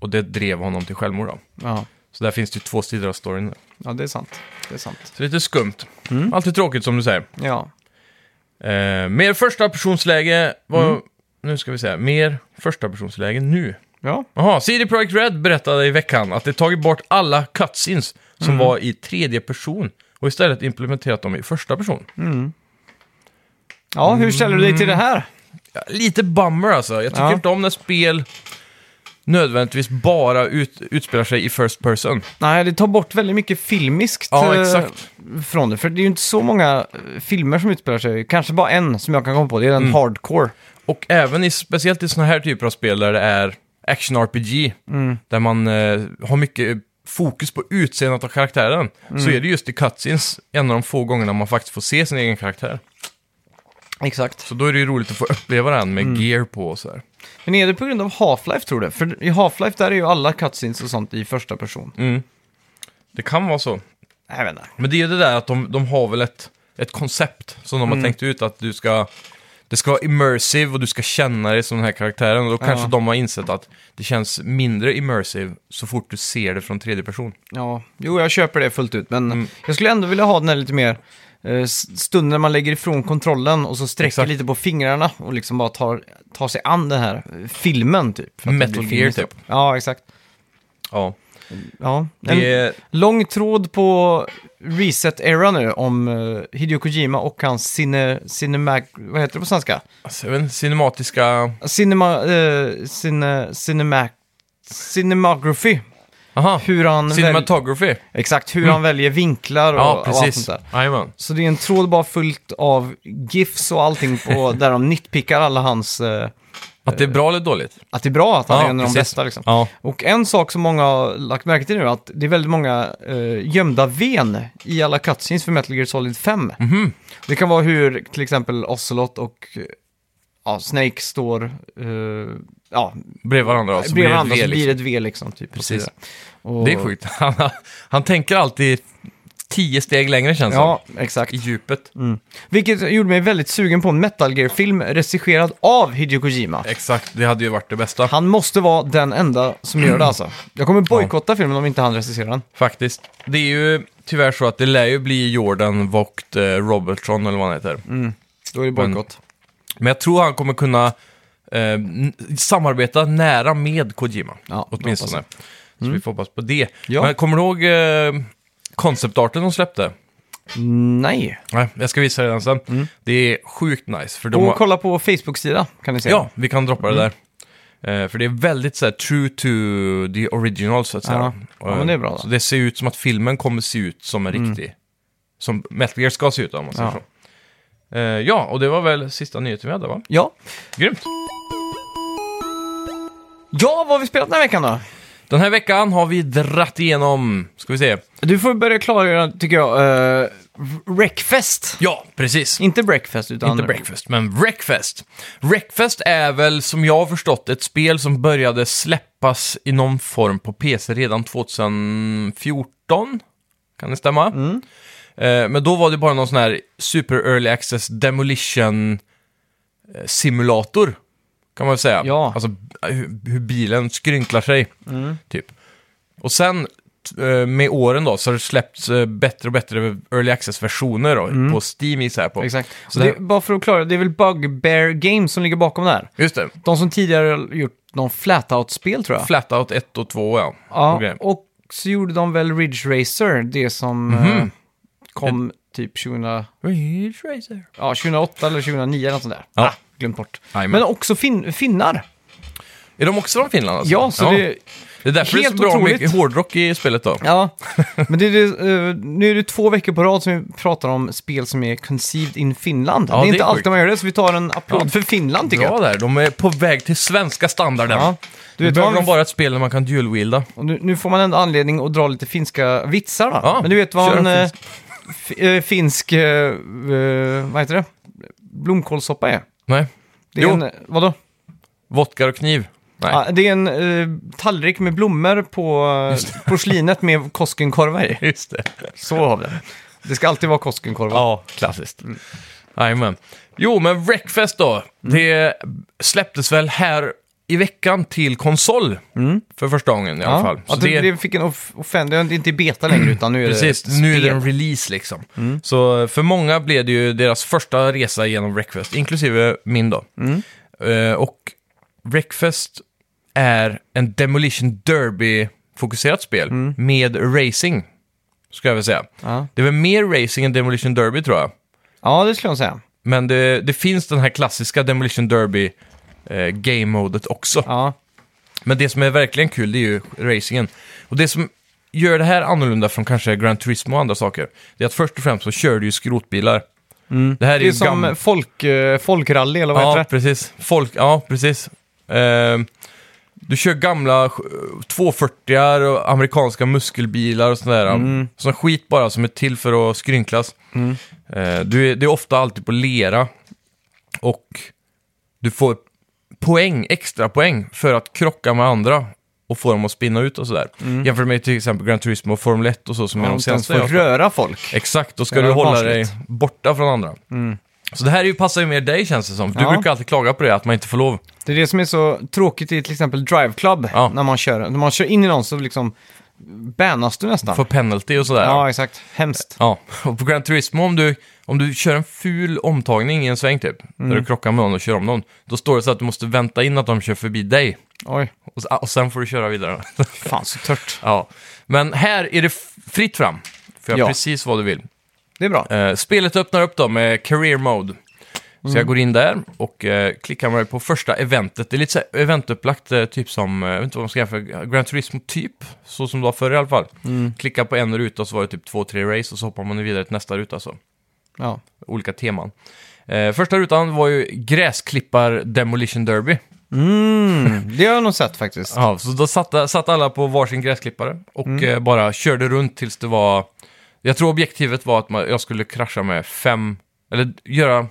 [SPEAKER 2] Och det drev honom till självmord då.
[SPEAKER 1] Ja.
[SPEAKER 2] Så där finns det ju två sidor av storyn. Där.
[SPEAKER 1] ja, det är sant. Det är sant.
[SPEAKER 2] Så lite skumt. Alltid tråkigt som du säger.
[SPEAKER 1] Ja.
[SPEAKER 2] Eh, mer första personsläge, vad, nu ska vi se, här. mer första personsläge nu.
[SPEAKER 1] Ja.
[SPEAKER 2] Jaha, CD Projekt Red berättade i veckan att de tagit bort alla cutscenes som var i tredje person och istället implementerat dem i första person.
[SPEAKER 1] Ja, hur ställer du dig till det här?
[SPEAKER 2] Ja, Lite bummer alltså. Jag tycker
[SPEAKER 1] Ja.
[SPEAKER 2] inte om när spel nödvändigtvis bara ut, utspelar sig i first person.
[SPEAKER 1] Nej, det tar bort väldigt mycket filmiskt
[SPEAKER 2] Ja,
[SPEAKER 1] eh,
[SPEAKER 2] exakt.
[SPEAKER 1] från det. För det är ju inte så många eh, filmer som utspelar sig. Kanske bara en som jag kan komma på. Det är
[SPEAKER 2] Mm.
[SPEAKER 1] den hardcore.
[SPEAKER 2] Och även i, speciellt i såna här typer av spel där det är action-RPG, där man eh, har mycket fokus på utseendet av karaktären, så är det just i cutscenes en av de få gångerna man faktiskt får se sin egen karaktär.
[SPEAKER 1] Exakt.
[SPEAKER 2] Så då är det ju roligt att få uppleva den med gear på och så här.
[SPEAKER 1] Men är det på grund av Half-Life tror du? För i Half-Life där är ju alla cutscenes och sånt i första person.
[SPEAKER 2] Mm. Det kan vara så.
[SPEAKER 1] Jag vet inte.
[SPEAKER 2] Men det är ju det där att de, de har väl ett, ett koncept som de
[SPEAKER 1] Mm.
[SPEAKER 2] har tänkt ut att du ska... Det ska vara immersive och du ska känna dig som den här karaktären. Och då kanske de har insett att det känns mindre immersive så fort du ser det från tredje person.
[SPEAKER 1] Ja, jo jag köper det fullt ut.
[SPEAKER 2] Mm.
[SPEAKER 1] Men jag skulle ändå vilja ha den här lite mer eh, s- stunden när man lägger ifrån kontrollen och så sträcker
[SPEAKER 2] Exakt.
[SPEAKER 1] lite på fingrarna och liksom bara tar, tar sig an den här eh, filmen typ. För att det
[SPEAKER 2] Metal
[SPEAKER 1] blir
[SPEAKER 2] Gear,
[SPEAKER 1] filmiskt.
[SPEAKER 2] typ.
[SPEAKER 1] Ja, exakt.
[SPEAKER 2] Ja.
[SPEAKER 1] Ja. En
[SPEAKER 2] Det är,
[SPEAKER 1] lång tråd på Reset-era nu om eh, Hideo Kojima och hans cine, cinemac... Vad heter det på svenska?
[SPEAKER 2] alltså, jag vet inte, cinematiska...
[SPEAKER 1] Cinema... eh, cine, cinemac... Cinematography.
[SPEAKER 2] Aha.
[SPEAKER 1] Hur han, väl,
[SPEAKER 2] Cinematography.
[SPEAKER 1] exakt, hur han väljer vinklar och,
[SPEAKER 2] Mm. Ja,
[SPEAKER 1] och allt sånt
[SPEAKER 2] precis.
[SPEAKER 1] där.
[SPEAKER 2] Jajamän.
[SPEAKER 1] Så det är en tråd bara fullt av GIFs och allting på, där de nitpickar alla hans... Eh,
[SPEAKER 2] Att det är bra eller dåligt?
[SPEAKER 1] att det är bra att han
[SPEAKER 2] Ja,
[SPEAKER 1] är en av de
[SPEAKER 2] precis.
[SPEAKER 1] bästa liksom.
[SPEAKER 2] Ja.
[SPEAKER 1] Och en sak som många har lagt märke till nu är att det är väldigt många eh, gömda ven i alla cutscenes för Metal Gear Solid 5.
[SPEAKER 2] Mhm.
[SPEAKER 1] Det kan vara hur till exempel Ocelot och eh, ja, Snake står eh, ja,
[SPEAKER 2] Bredvid varandra. och så blir
[SPEAKER 1] bredvid
[SPEAKER 2] det
[SPEAKER 1] varandra
[SPEAKER 2] V
[SPEAKER 1] så blir
[SPEAKER 2] liksom.
[SPEAKER 1] det ett V liksom. Typ, och så
[SPEAKER 2] Precis.
[SPEAKER 1] vidare. Och,
[SPEAKER 2] Det är sjukt. Han, han tänker alltid tio steg längre känns det
[SPEAKER 1] Ja, Mm. exakt.
[SPEAKER 2] som. I djupet.
[SPEAKER 1] Vilket gjorde mig väldigt sugen på en Metal Gear-film regisserad av Hideo Kojima.
[SPEAKER 2] Exakt, det hade ju varit det bästa.
[SPEAKER 1] Han måste vara den enda som gör det alltså. Jag kommer bojkotta filmen om inte han recenserar den.
[SPEAKER 2] Faktiskt. Det är ju tyvärr så att det lär ju bli Jordan Vogt eh, Robertson eller vad han heter.
[SPEAKER 1] Då är det bojkott.
[SPEAKER 2] Men jag tror han kommer kunna eh, n- samarbeta nära med Kojima.
[SPEAKER 1] Ja,
[SPEAKER 2] åtminstone. Så vi får hoppas på det.
[SPEAKER 1] Ja.
[SPEAKER 2] Men kommer du ihåg eh, konceptarten de släppte?
[SPEAKER 1] Nej.
[SPEAKER 2] Nej, jag ska visa dig den sen. Det är sjukt nice. För de
[SPEAKER 1] Och
[SPEAKER 2] har...
[SPEAKER 1] kolla på Facebook-sida kan ni se.
[SPEAKER 2] Ja, vi kan droppa
[SPEAKER 1] Mm.
[SPEAKER 2] det där. Eh, för det är väldigt så här, true to the original så att säga.
[SPEAKER 1] Ja. Ja, men det är bra då. Mm.
[SPEAKER 2] Så det ser ut som att filmen kommer se ut som en riktig... Som Metal Gear ska se ut om man säger
[SPEAKER 1] Ja.
[SPEAKER 2] så. Eh, ja, och det var väl sista nyheten vi hade va?
[SPEAKER 1] Ja.
[SPEAKER 2] Grymt!
[SPEAKER 1] Ja, vad har vi spelat den här veckan då?
[SPEAKER 2] Den här veckan har vi dratt igenom, ska vi se.
[SPEAKER 1] Du får börja klargöra, tycker jag, uh, Wreckfest.
[SPEAKER 2] Ja, precis.
[SPEAKER 1] Inte breakfast, utan...
[SPEAKER 2] Inte breakfast, men breakfast. Breakfast är väl, som jag har förstått, ett spel som började släppas i någon form på PC redan 2014. Kan det stämma?
[SPEAKER 1] Mm.
[SPEAKER 2] Eh, men då var det bara någon sån här super early access demolition eh, simulator. Kan man väl säga.
[SPEAKER 1] Ja. Mm.
[SPEAKER 2] Alltså eh, hur, hur bilen skrynklar sig. Typ. Och sen t- eh, med åren då så har det släppts eh, bättre och bättre early access-versioner då, på Steam gissar jag på.
[SPEAKER 1] Mm. Exakt.
[SPEAKER 2] Så
[SPEAKER 1] det,
[SPEAKER 2] det-
[SPEAKER 1] bara för att klara, det är väl Bugbear Games som ligger bakom det här.
[SPEAKER 2] Just det.
[SPEAKER 1] De som tidigare har gjort någon flatout-spel tror jag.
[SPEAKER 2] Flatout 1 och 2, ja.
[SPEAKER 1] ja,
[SPEAKER 2] Okej.
[SPEAKER 1] och så gjorde de väl Ridge Racer, det som eh,
[SPEAKER 2] Mhm.
[SPEAKER 1] kom typ 2000... ja, 2008 eller 2009 eller något sånt där.
[SPEAKER 2] Ja.
[SPEAKER 1] Ah, glömt bort.
[SPEAKER 2] Jajamän.
[SPEAKER 1] Men också fin finnar.
[SPEAKER 2] Är de också från Finland alltså?
[SPEAKER 1] Ja, så det...
[SPEAKER 2] Det är därför det är så
[SPEAKER 1] helt
[SPEAKER 2] bra
[SPEAKER 1] otroligt.
[SPEAKER 2] mycket hårdrock i spelet då.
[SPEAKER 1] Ja, men det, är det, eh, nu är det två veckor på rad som vi pratar om spel som är conceived in Finland. det är
[SPEAKER 2] det är
[SPEAKER 1] inte alltid
[SPEAKER 2] sjukt.
[SPEAKER 1] man gör det, så vi tar en applåd
[SPEAKER 2] Ja.
[SPEAKER 1] för Finland tycker jag.
[SPEAKER 2] Bra där, de är på väg till svenska standarden.
[SPEAKER 1] Ja. Du
[SPEAKER 2] Du
[SPEAKER 1] vet,
[SPEAKER 2] vet,
[SPEAKER 1] vad
[SPEAKER 2] behöver
[SPEAKER 1] han-
[SPEAKER 2] de bara ett spel där man kan dual-wielda.
[SPEAKER 1] Och nu, nu får man ändå anledning att dra lite finska vitsar då.
[SPEAKER 2] Ja,
[SPEAKER 1] men du vet vad
[SPEAKER 2] kör
[SPEAKER 1] en
[SPEAKER 2] en
[SPEAKER 1] eh, fi- eh, finsk, eh, eh, vad heter det, blomkålssoppa är?
[SPEAKER 2] Nej.
[SPEAKER 1] Det är
[SPEAKER 2] Jo.
[SPEAKER 1] en, eh, vadå?
[SPEAKER 2] Vodka och kniv. Nej.
[SPEAKER 1] Ja, det är en eh, tallrik med blommor på eh, porslinet med Koskenkorva i.
[SPEAKER 2] Just det.
[SPEAKER 1] Så har vi det. Det ska alltid vara Koskenkorva.
[SPEAKER 2] Ja, klassiskt. Jajamän. Jo, men Wreckfest då. Det släpptes väl här i veckan till konsol.
[SPEAKER 1] Mm.
[SPEAKER 2] För första gången i alla fall. Mm.
[SPEAKER 1] Att det, det fick en off- offentlig, det är inte i beta längre utan nu är
[SPEAKER 2] Precis,
[SPEAKER 1] det ett
[SPEAKER 2] Eh, nu är det
[SPEAKER 1] spel.
[SPEAKER 2] en release liksom. Så för många blev det ju deras första resa genom Wreckfest, inklusive min då. Eh, och Wreckfest är en Demolition Derby-fokuserat spel med racing, ska jag väl säga.
[SPEAKER 1] Ja.
[SPEAKER 2] Det är väl mer racing än Demolition Derby tror jag.
[SPEAKER 1] ja, det skulle jag säga.
[SPEAKER 2] Men det, det finns den här klassiska Demolition Derby eh, game-modet också.
[SPEAKER 1] Ja.
[SPEAKER 2] Men det som är verkligen kul det är ju racingen. Och det som gör det här annorlunda från kanske Gran Turismo och andra saker, det är att först och främst så kör du ju skrotbilar. Det här är,
[SPEAKER 1] Mm. Det är
[SPEAKER 2] ju
[SPEAKER 1] som
[SPEAKER 2] gam-
[SPEAKER 1] folk, eh, folkrally eller vad
[SPEAKER 2] ja,
[SPEAKER 1] heter det?
[SPEAKER 2] precis. Folk, ja, precis. Ehm, du kör gamla eh, 240 och amerikanska muskelbilar och sådär.
[SPEAKER 1] Mm.
[SPEAKER 2] Sån skit bara som är till för att skrynklas. Eh, du är, det är ofta alltid på lera. Och du får poäng, extra poäng för att krocka med andra och få dem att spinna ut och sådär. Jämfört med till exempel Gran Turismo och Formel 1 och så som är
[SPEAKER 1] Mm. Ja,
[SPEAKER 2] de
[SPEAKER 1] inte ens
[SPEAKER 2] senaste.
[SPEAKER 1] får
[SPEAKER 2] jag-
[SPEAKER 1] röra folk.
[SPEAKER 2] Exakt, då ska
[SPEAKER 1] Det
[SPEAKER 2] du
[SPEAKER 1] var
[SPEAKER 2] hålla dig
[SPEAKER 1] vansinnigt.
[SPEAKER 2] borta från andra. Så det här är ju, passar ju mer dig känns det som. För Du
[SPEAKER 1] Ja.
[SPEAKER 2] brukar alltid klaga på det, att man inte får lov.
[SPEAKER 1] Det är det som är så tråkigt i till exempel Drive Club,
[SPEAKER 2] Ja.
[SPEAKER 1] när man kör. När man kör in i någon så liksom bannas du nästan.
[SPEAKER 2] För penalty och sådär.
[SPEAKER 1] Ja, exakt. Hemskt.
[SPEAKER 2] Ja, och på Gran Turismo om du, om du kör en ful omtagning i en sväng typ, där
[SPEAKER 1] Mm.
[SPEAKER 2] du krockar med någon och kör om någon, då står det så att du måste vänta in att de kör förbi dig.
[SPEAKER 1] Oj,
[SPEAKER 2] Och, s- och sen får du köra vidare.
[SPEAKER 1] fan så tört.
[SPEAKER 2] ja. Men här är det f- fritt fram. För jag
[SPEAKER 1] Ja.
[SPEAKER 2] precis vad du vill.
[SPEAKER 1] Det är bra.
[SPEAKER 2] Eh, spelet öppnar upp då med career mode. Så jag går in där och eh, klickar mig på första eventet. Det är lite så här eventupplagt, eh, typ som, eh, jag vet inte vad man ska jämföra, Gran Turismo typ. Så som det var förr i alla fall. Klicka på en ruta och så var det typ två, tre race och så hoppar man vidare till nästa ruta. Så.
[SPEAKER 1] Ja.
[SPEAKER 2] Olika teman. Eh, första rutan var ju gräsklippar demolition derby.
[SPEAKER 1] Mm, det har jag nog sett faktiskt.
[SPEAKER 2] Ja, så då satt, satt alla på varsin gräsklippare och
[SPEAKER 1] Mm.
[SPEAKER 2] eh, bara körde runt tills det var... Jag tror objektivet var att man, jag skulle krascha med fem, eller göra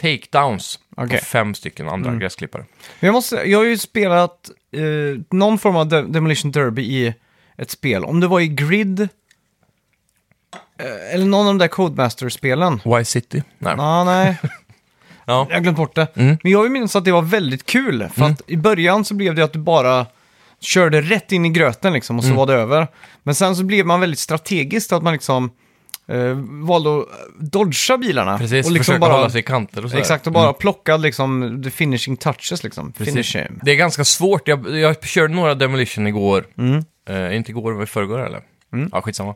[SPEAKER 2] takedowns
[SPEAKER 1] Okej. Mm.
[SPEAKER 2] på fem stycken andra gräsklippare.
[SPEAKER 1] Men jag, måste, jag har ju spelat eh, någon form av de Demolition Derby i ett spel. Om det var i Grid, eh, eller någon av de där Codemaster-spelen.
[SPEAKER 2] Why City? Nej.
[SPEAKER 1] Ah, nej,
[SPEAKER 2] Ja.
[SPEAKER 1] jag har glömt bort det.
[SPEAKER 2] Mm.
[SPEAKER 1] Men jag vill minnas att det var väldigt kul. För att i början så blev det att du bara körde rätt in i gröten liksom
[SPEAKER 2] Mm.
[SPEAKER 1] och så var det över. Men sen så blev man väldigt strategiskt att man liksom eh, valde att dodga bilarna.
[SPEAKER 2] Precis,
[SPEAKER 1] och
[SPEAKER 2] liksom
[SPEAKER 1] liksom
[SPEAKER 2] försöka hålla sig i kanter och sådär.
[SPEAKER 1] Exakt, och bara plocka liksom the finishing touches liksom.
[SPEAKER 2] Precis.
[SPEAKER 1] Finish him.
[SPEAKER 2] Det är ganska svårt. Jag, jag körde några demolition igår.
[SPEAKER 1] Mm.
[SPEAKER 2] Eh, inte igår, men i förrgår eller? Ja, skitsamma.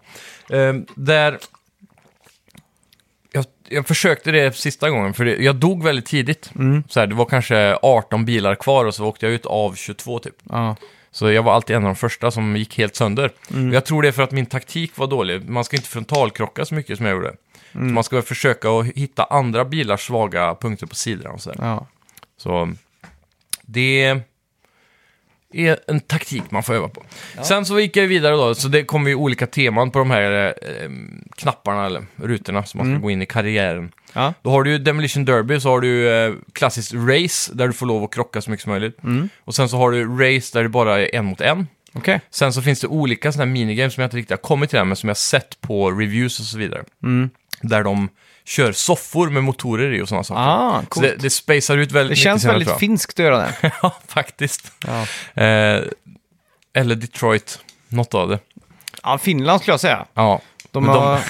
[SPEAKER 2] Eh, där... Jag, jag försökte det sista gången, för det, jag dog väldigt tidigt.
[SPEAKER 1] Mm.
[SPEAKER 2] Så här, det var kanske 18 bilar kvar och så åkte jag ut av 22 typ.
[SPEAKER 1] Ja.
[SPEAKER 2] Så jag var alltid en av de första som gick helt sönder.
[SPEAKER 1] Mm.
[SPEAKER 2] Och Jag tror det är för att min taktik var dålig. Man ska inte frontalkrocka så mycket som jag gjorde.
[SPEAKER 1] Mm.
[SPEAKER 2] Så man ska väl försöka att hitta andra bilars svaga punkter på sidorna och så där.
[SPEAKER 1] Ja.
[SPEAKER 2] Så det är en taktik man får öva på. Sen så gick jag vidare då, så det kommer ju olika teman på de här eh, knapparna eller rutorna som man
[SPEAKER 1] Mm.
[SPEAKER 2] ska gå in i karriären.
[SPEAKER 1] Ja.
[SPEAKER 2] Då har du ju Demolition Derby, så har du ju, eh, klassiskt race där du får lov att krocka så mycket som möjligt.
[SPEAKER 1] Mm.
[SPEAKER 2] Och sen så har du race där det bara är en mot en.
[SPEAKER 1] Okej.
[SPEAKER 2] Sen så finns det olika sådana här minigames som jag inte riktigt har kommit till än, men som jag sett på reviews och så vidare.
[SPEAKER 1] Mm.
[SPEAKER 2] Där de kör soffor med motorer i och sådana saker.
[SPEAKER 1] Ah,
[SPEAKER 2] Så
[SPEAKER 1] coolt.
[SPEAKER 2] det,
[SPEAKER 1] Det,
[SPEAKER 2] det spacear ut väldigt mycket
[SPEAKER 1] känns
[SPEAKER 2] senare,
[SPEAKER 1] väldigt
[SPEAKER 2] tror jag.
[SPEAKER 1] finskt att göra det.
[SPEAKER 2] Ja, faktiskt.
[SPEAKER 1] Ja.
[SPEAKER 2] Eh, eller Detroit, något av det.
[SPEAKER 1] ja, Finland skulle jag säga.
[SPEAKER 2] Ja,
[SPEAKER 1] De
[SPEAKER 2] Men de-
[SPEAKER 1] har...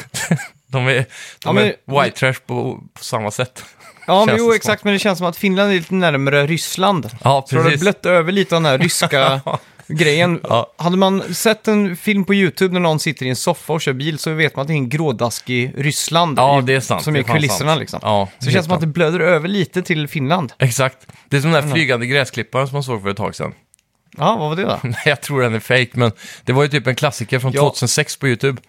[SPEAKER 2] de är, de
[SPEAKER 1] Ja, men-
[SPEAKER 2] är white trash på, på samma sätt.
[SPEAKER 1] Ja, men
[SPEAKER 2] Känns det
[SPEAKER 1] jo,
[SPEAKER 2] som.
[SPEAKER 1] exakt, men det känns som att Finland är lite närmare Ryssland.
[SPEAKER 2] Ja,
[SPEAKER 1] Så har det blött över lite av den här ryska grejen.
[SPEAKER 2] Ja.
[SPEAKER 1] Hade man sett en film på YouTube när någon sitter i en soffa och kör bil så vet man att det är en grådaskig Ryssland
[SPEAKER 2] Ja,
[SPEAKER 1] i-
[SPEAKER 2] det är sant.
[SPEAKER 1] som
[SPEAKER 2] det
[SPEAKER 1] är
[SPEAKER 2] är fan
[SPEAKER 1] kulisserna.
[SPEAKER 2] sant.
[SPEAKER 1] Liksom.
[SPEAKER 2] Ja,
[SPEAKER 1] Så det känns som att det blöder över lite till Finland.
[SPEAKER 2] Exakt. Det är som den där flygande gräsklipparen som man såg för ett tag sedan.
[SPEAKER 1] Ja, vad var det då?
[SPEAKER 2] Nej, jag tror den är fake, men det var ju typ en klassiker från
[SPEAKER 1] Ja.
[SPEAKER 2] 2006 på YouTube.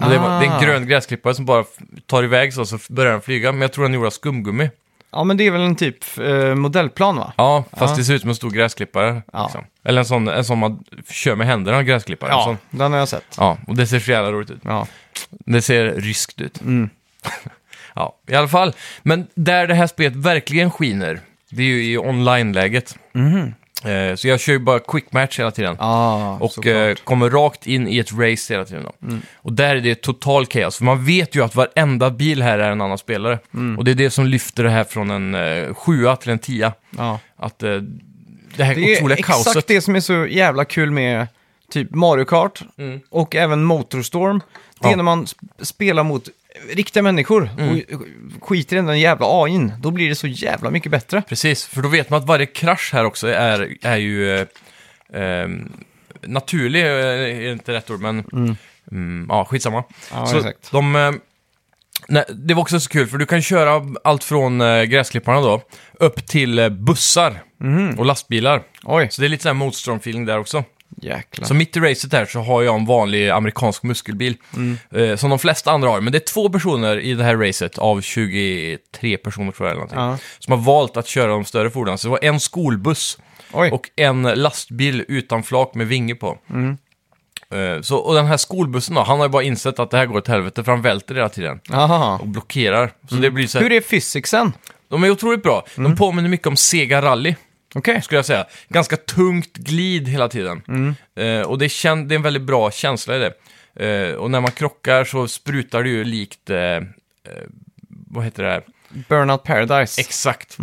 [SPEAKER 2] Och Det, var, det är
[SPEAKER 1] Ah.
[SPEAKER 2] en grön gräsklippare som bara f- tar iväg så, så börjar den flyga. Men jag tror den är gjord av skumgummi.
[SPEAKER 1] Ja, men det är väl en typ eh, modellplan va?
[SPEAKER 2] Ja, fast
[SPEAKER 1] Ja.
[SPEAKER 2] det ser ut som en stor gräsklippare.
[SPEAKER 1] Ah. Ja.
[SPEAKER 2] Liksom. Eller en sån, en sån man kör med händerna, en gräsklippare. En sån.
[SPEAKER 1] den har jag sett.
[SPEAKER 2] Ja, och det ser så jävla roligt ut.
[SPEAKER 1] Ja.
[SPEAKER 2] Det ser ryskt ut.
[SPEAKER 1] Mm.
[SPEAKER 2] ja, i alla
[SPEAKER 1] Mhm.
[SPEAKER 2] fall. Men där det här spelet verkligen skiner, det är ju i online-läget. Eh, så jag kör ju bara quick match hela tiden.
[SPEAKER 1] Ah,
[SPEAKER 2] Och
[SPEAKER 1] såklart. Mm.
[SPEAKER 2] eh, kommer rakt in i ett race hela tiden. Då. Och där är det total kaos. För man vet ju att varenda bil här är en annan spelare.
[SPEAKER 1] Mm.
[SPEAKER 2] Och det är det som lyfter det här från en eh, sjua till en tia.
[SPEAKER 1] ja.
[SPEAKER 2] Att eh, det här
[SPEAKER 1] Det är
[SPEAKER 2] otroliga
[SPEAKER 1] exakt
[SPEAKER 2] kaoset.
[SPEAKER 1] det som är så jävla kul med typ Mario Kart och även Motorstorm. Det är
[SPEAKER 2] Mm. Ja. Mm.
[SPEAKER 1] när man sp- spelar mot riktiga människor och skiter i den jävla AIn. Då blir det så jävla mycket bättre.
[SPEAKER 2] Precis, för då vet man att varje krasch här också är, är ju... Eh, eh, naturlig eh, är inte rätt ord, men... Mm. ja, skitsamma.
[SPEAKER 1] Ja,
[SPEAKER 2] så
[SPEAKER 1] exakt.
[SPEAKER 2] De, eh, nej, det var också så kul, för du kan köra allt från eh, gräsklipparna då, upp till eh, bussar
[SPEAKER 1] Mm-hmm.
[SPEAKER 2] och lastbilar.
[SPEAKER 1] Oj,
[SPEAKER 2] Så det är lite sån här motströmfeeling där också.
[SPEAKER 1] jäklar.
[SPEAKER 2] Så mitt i racet här så har jag en vanlig amerikansk muskelbil.
[SPEAKER 1] Mm.
[SPEAKER 2] Eh, som de flesta andra har. Men det är två personer i det här racet av 23 personer tror jag eller någonting.
[SPEAKER 1] Ja.
[SPEAKER 2] Som har valt att köra de större fordonen. Så det var en skolbuss
[SPEAKER 1] Oj,
[SPEAKER 2] och en lastbil utan flak med vinge på. Eh, så, och den här skolbussen då, han har ju bara insett att det här går åt helvete för han välter hela tiden.
[SPEAKER 1] Aha.
[SPEAKER 2] Och blockerar. Så det blir så här,
[SPEAKER 1] Hur är fysiksen?
[SPEAKER 2] De är otroligt bra. De påminner mycket om Sega Rally
[SPEAKER 1] Okej.
[SPEAKER 2] skulle jag säga. Ganska tungt glid hela tiden. Eh, och det, kän- det är en väldigt bra känsla i det. Eh, och när man krockar så sprutar det ju likt, eh, eh, vad heter det här?
[SPEAKER 1] Burnout Paradise.
[SPEAKER 2] Exakt.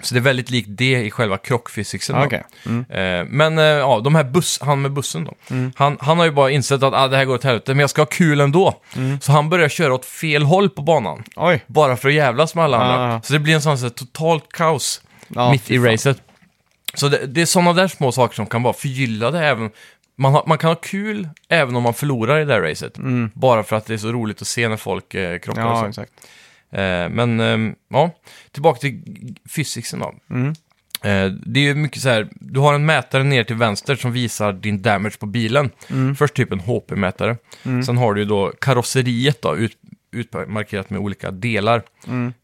[SPEAKER 2] Så det är väldigt likt det i själva krockfysiken. då.
[SPEAKER 1] Mm. Ah, okej. Mm.
[SPEAKER 2] Eh, men eh, ja, de här buss, han med bussen då. Han, han har ju bara insett att ah, det här går åt helvete, men jag ska ha kul ändå.
[SPEAKER 1] Mm.
[SPEAKER 2] Så han börjar köra åt fel håll på banan.
[SPEAKER 1] Oj.
[SPEAKER 2] Bara för att jävlas med alla andra.
[SPEAKER 1] Ah.
[SPEAKER 2] Så det blir en sån här totalt kaos
[SPEAKER 1] Ja,
[SPEAKER 2] mitt
[SPEAKER 1] fy
[SPEAKER 2] i
[SPEAKER 1] fan.
[SPEAKER 2] racet. Så det, det är sådana där små saker som kan vara förgyllade även. Man, har, man kan ha kul även om man förlorar i det där racet. Bara för att det är så roligt att se när folk eh, krockar och
[SPEAKER 1] Mm. Ja,
[SPEAKER 2] sånt.
[SPEAKER 1] exakt.
[SPEAKER 2] Eh, men ehm, ja, tillbaka till g- fysiksen då. Eh, det är ju mycket så här, du har en mätare ner till vänster som visar din damage på bilen. Först typ en HP-mätare. Sen har du ju då karosseriet då, ut, utmarkerat med olika delar.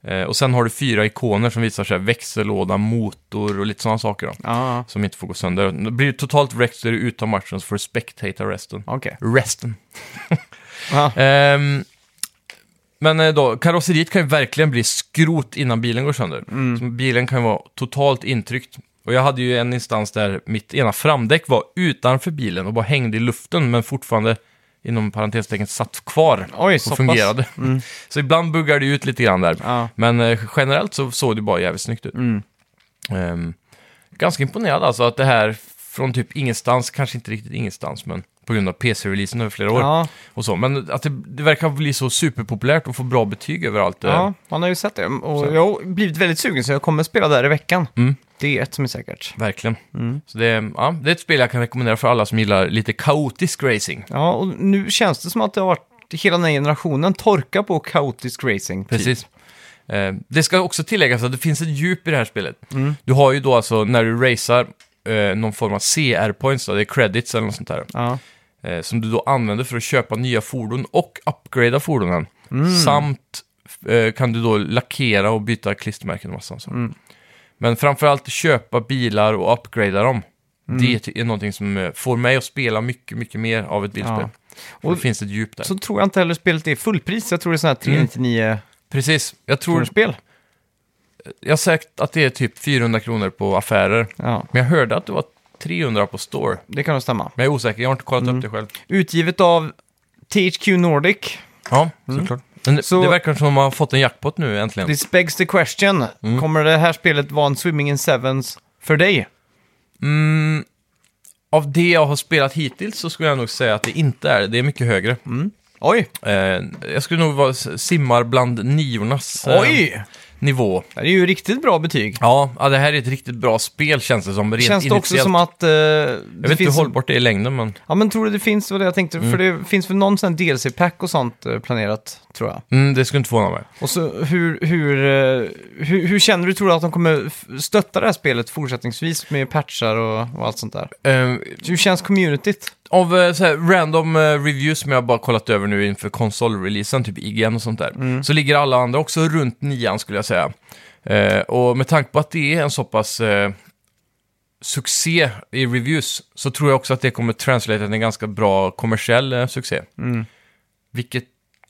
[SPEAKER 2] Eh, och sen har du fyra ikoner som visar så här, växellåda, motor och lite sådana saker då.
[SPEAKER 1] Ja,
[SPEAKER 2] Som inte får gå sönder. Då Blir du totalt wrecked så är du utom matchen så får du spectata resten.
[SPEAKER 1] okej.
[SPEAKER 2] Resten.
[SPEAKER 1] Ja.
[SPEAKER 2] Ehm, men eh, då, karosseriet kan ju verkligen bli skrot innan bilen går sönder.
[SPEAKER 1] Mm.
[SPEAKER 2] Så bilen kan ju vara totalt intryckt. Och jag hade ju en instans där mitt ena framdäck var utanför bilen och bara hängde i luften men fortfarande inom parentestecken satt kvar
[SPEAKER 1] Oj, så
[SPEAKER 2] och
[SPEAKER 1] pass. Mm.
[SPEAKER 2] fungerade. så ibland buggar det ut lite grann där.
[SPEAKER 1] Ja. Mm.
[SPEAKER 2] Men eh, generellt så såg det bara jävligt snyggt ut. Ehm, ganska imponerad alltså att det här från typ ingenstans, kanske inte riktigt ingenstans, men på grund av PC-releasen över flera år
[SPEAKER 1] Ja.
[SPEAKER 2] och så. Men att det, det verkar bli så superpopulärt och få bra betyg överallt.
[SPEAKER 1] Ja, man har ju sett det. Och
[SPEAKER 2] Så.
[SPEAKER 1] jag har blivit väldigt sugen så jag kommer spela där i veckan.
[SPEAKER 2] Mm.
[SPEAKER 1] Det är ett som är säkert.
[SPEAKER 2] Verkligen. Så det, ja, det är ett spel jag kan rekommendera för alla som gillar lite kaotisk racing. typ.
[SPEAKER 1] Ja, och nu känns det som att det har varit hela den här generationen torka på kaotisk racing. Typ.
[SPEAKER 2] Precis. Eh, det ska också tilläggas att det finns ett djup i det här spelet. Du har ju då alltså, när du racear, eh, någon form av CR-points, då, det är credits eller något sånt där.
[SPEAKER 1] Ja.
[SPEAKER 2] eh, som du då använder för att köpa nya fordon och upgrada fordonen.
[SPEAKER 1] Mm.
[SPEAKER 2] Samt eh, kan du då lackera och byta klistermärken och massa sånt.
[SPEAKER 1] Mm.
[SPEAKER 2] Men framförallt köpa bilar och upgrada dem.
[SPEAKER 1] Mm.
[SPEAKER 2] Det är någonting som eh, får mig att spela mycket, mycket mer av ett bilspel.
[SPEAKER 1] Ja.
[SPEAKER 2] Och
[SPEAKER 1] Och-
[SPEAKER 2] det finns ett djup där.
[SPEAKER 1] Så tror jag inte heller spelet är fullpris. Jag tror det är sådana här 399
[SPEAKER 2] Precis. Jag Mm. tror,
[SPEAKER 1] kronors spel.
[SPEAKER 2] jag har sagt att det är typ 400 kronor på affärer.
[SPEAKER 1] Ja,
[SPEAKER 2] Men jag hörde att det var 300 på store.
[SPEAKER 1] det kan nog stämma.
[SPEAKER 2] Men jag är osäker, jag har inte kollat
[SPEAKER 1] Mm.
[SPEAKER 2] upp det själv.
[SPEAKER 1] Utgivet av THQ Nordic.
[SPEAKER 2] Ja, såklart. Men
[SPEAKER 1] Mm. Så-
[SPEAKER 2] det verkar som att man har fått en jackpot nu äntligen.
[SPEAKER 1] This begs the question.
[SPEAKER 2] Mm.
[SPEAKER 1] Kommer det här spelet vara en Swimming in Sevens för dig?
[SPEAKER 2] Av det jag har spelat hittills så skulle jag nog säga att det inte är det. Det är mycket högre.
[SPEAKER 1] Oj!
[SPEAKER 2] Eh, jag skulle nog vara s- simmar bland niornas eh,
[SPEAKER 1] Oj!
[SPEAKER 2] nivå.
[SPEAKER 1] Det är ju riktigt bra betyg.
[SPEAKER 2] Ja, ja, det här är ett riktigt bra spel känns det som. Rent
[SPEAKER 1] Känns det också
[SPEAKER 2] initiellt.
[SPEAKER 1] som att... eh, det
[SPEAKER 2] Jag vet inte
[SPEAKER 1] finns-
[SPEAKER 2] hur hållbart det är i längden, men...
[SPEAKER 1] Ja, men tror du det finns, vad jag tänkte, för
[SPEAKER 2] Mm.
[SPEAKER 1] det finns väl någon sån här DLC-pack och sånt eh, planerat, tror jag.
[SPEAKER 2] Mm, det skulle inte förvåna mig.
[SPEAKER 1] Och så hur, hur, eh, hur, hur känner du, tror du att de kommer f- stötta det här spelet fortsättningsvis med patchar och, och allt sånt där?
[SPEAKER 2] Eh,
[SPEAKER 1] Hur känns communityt?
[SPEAKER 2] av eh, så här, random eh, reviews som jag bara kollat över nu inför konsolreleasen, typ IGN och sånt där, så ligger alla andra också runt nian skulle jag säga. Eh, och med tanke på att det är en så pass eh, succé i reviews så tror jag också att det kommer translate till en ganska bra kommersiell eh, succé. Vilket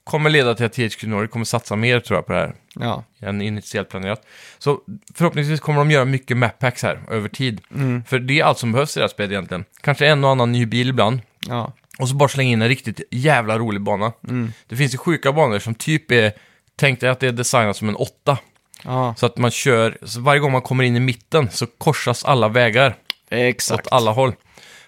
[SPEAKER 2] kommer leda till att THQ Nordic kommer satsa mer tror jag på det här
[SPEAKER 1] Ja.
[SPEAKER 2] än initiellt planerat. Så förhoppningsvis kommer de göra mycket mappacks här över tid. För det är allt som behövs i det här spelet egentligen. Kanske en och annan ny bil ibland.
[SPEAKER 1] Ja.
[SPEAKER 2] Och så bara slänga in en riktigt jävla rolig bana.
[SPEAKER 1] Mm.
[SPEAKER 2] Det finns ju sjuka banor som typ är, tänk dig att det är designat som en åtta.
[SPEAKER 1] ja.
[SPEAKER 2] Så att man kör, så varje gång man kommer in i mitten så korsas alla vägar
[SPEAKER 1] Exakt.
[SPEAKER 2] åt alla håll.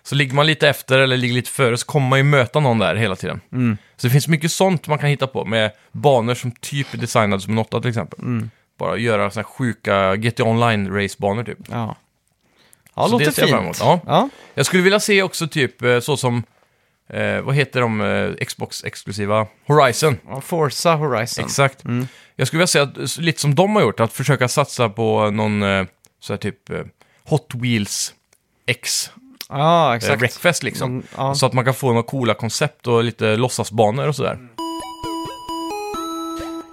[SPEAKER 2] Så ligger man lite efter eller ligger lite före så kommer man ju möta någon där hela tiden.
[SPEAKER 1] Mm.
[SPEAKER 2] Så det finns mycket sånt man kan hitta på med banor som typ är designade som en åtta till exempel.
[SPEAKER 1] Mm.
[SPEAKER 2] Bara göra såna här sjuka GTA Online-racebanor typ.
[SPEAKER 1] Ja. Ja,
[SPEAKER 2] Så
[SPEAKER 1] låter
[SPEAKER 2] det ser jag
[SPEAKER 1] fint.
[SPEAKER 2] fram emot, ja.
[SPEAKER 1] ja.
[SPEAKER 2] Jag skulle vilja se också typ eh, så som, eh, vad heter de eh, Xbox-exklusiva? Horizon.
[SPEAKER 1] Ja, Mm. Forza Horizon.
[SPEAKER 2] Exakt. Jag skulle vilja säga att, s- lite som de har gjort, att försöka satsa på någon eh, så här typ eh, Hot Wheels X
[SPEAKER 1] Ja,
[SPEAKER 2] eh,
[SPEAKER 1] exakt.
[SPEAKER 2] Wreckfest liksom.
[SPEAKER 1] Mm, ja.
[SPEAKER 2] Så att man kan få några coola koncept och lite låtsasbanor och sådär.
[SPEAKER 1] Mm.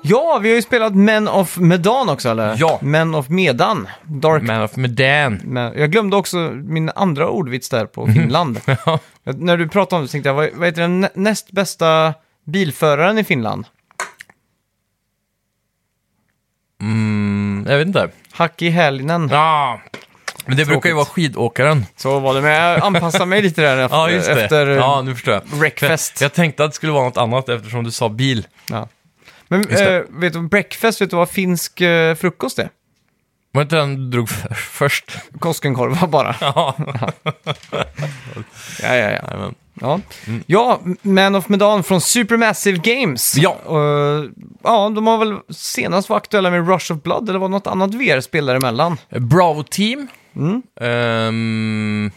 [SPEAKER 1] Ja, vi har ju spelat Men of Medan också, eller?
[SPEAKER 2] Ja.
[SPEAKER 1] Men of Medan. Dark...
[SPEAKER 2] Man of Medan.
[SPEAKER 1] Men jag glömde också min andra ordvits där på Finland.
[SPEAKER 2] Mhm. Ja.
[SPEAKER 1] Jag- När du pratade om det så tänkte jag, vad, vad heter den nä- näst bästa bilföraren i Finland?
[SPEAKER 2] mm, jag vet inte.
[SPEAKER 1] Hacki Hälinen.
[SPEAKER 2] Ja. Men det brukar ju vara skidåkaren.
[SPEAKER 1] Så var det, men jag anpassade mig lite där efter...
[SPEAKER 2] Ja, just det.
[SPEAKER 1] efter eh,
[SPEAKER 2] ja, nu förstår jag.
[SPEAKER 1] Wreckfest.
[SPEAKER 2] Jag tänkte att det skulle vara något annat eftersom du sa bil.
[SPEAKER 1] ja. Men
[SPEAKER 2] Just det.
[SPEAKER 1] eh, vet du, breakfast, vet du vad finsk eh, frukost är?
[SPEAKER 2] Var det inte den du drog för, först?
[SPEAKER 1] Koskenkorva bara.
[SPEAKER 2] Ja.
[SPEAKER 1] Ja, ja, ja.
[SPEAKER 2] Nej, men.
[SPEAKER 1] Ja,
[SPEAKER 2] Mm.
[SPEAKER 1] ja Man of Medan från Supermassive Games.
[SPEAKER 2] Ja.
[SPEAKER 1] Eh, ja, de har väl senast varit aktuella med Rush of Blood, eller var det något annat VR-spel däremellan?
[SPEAKER 2] Bravo Team. Ehm,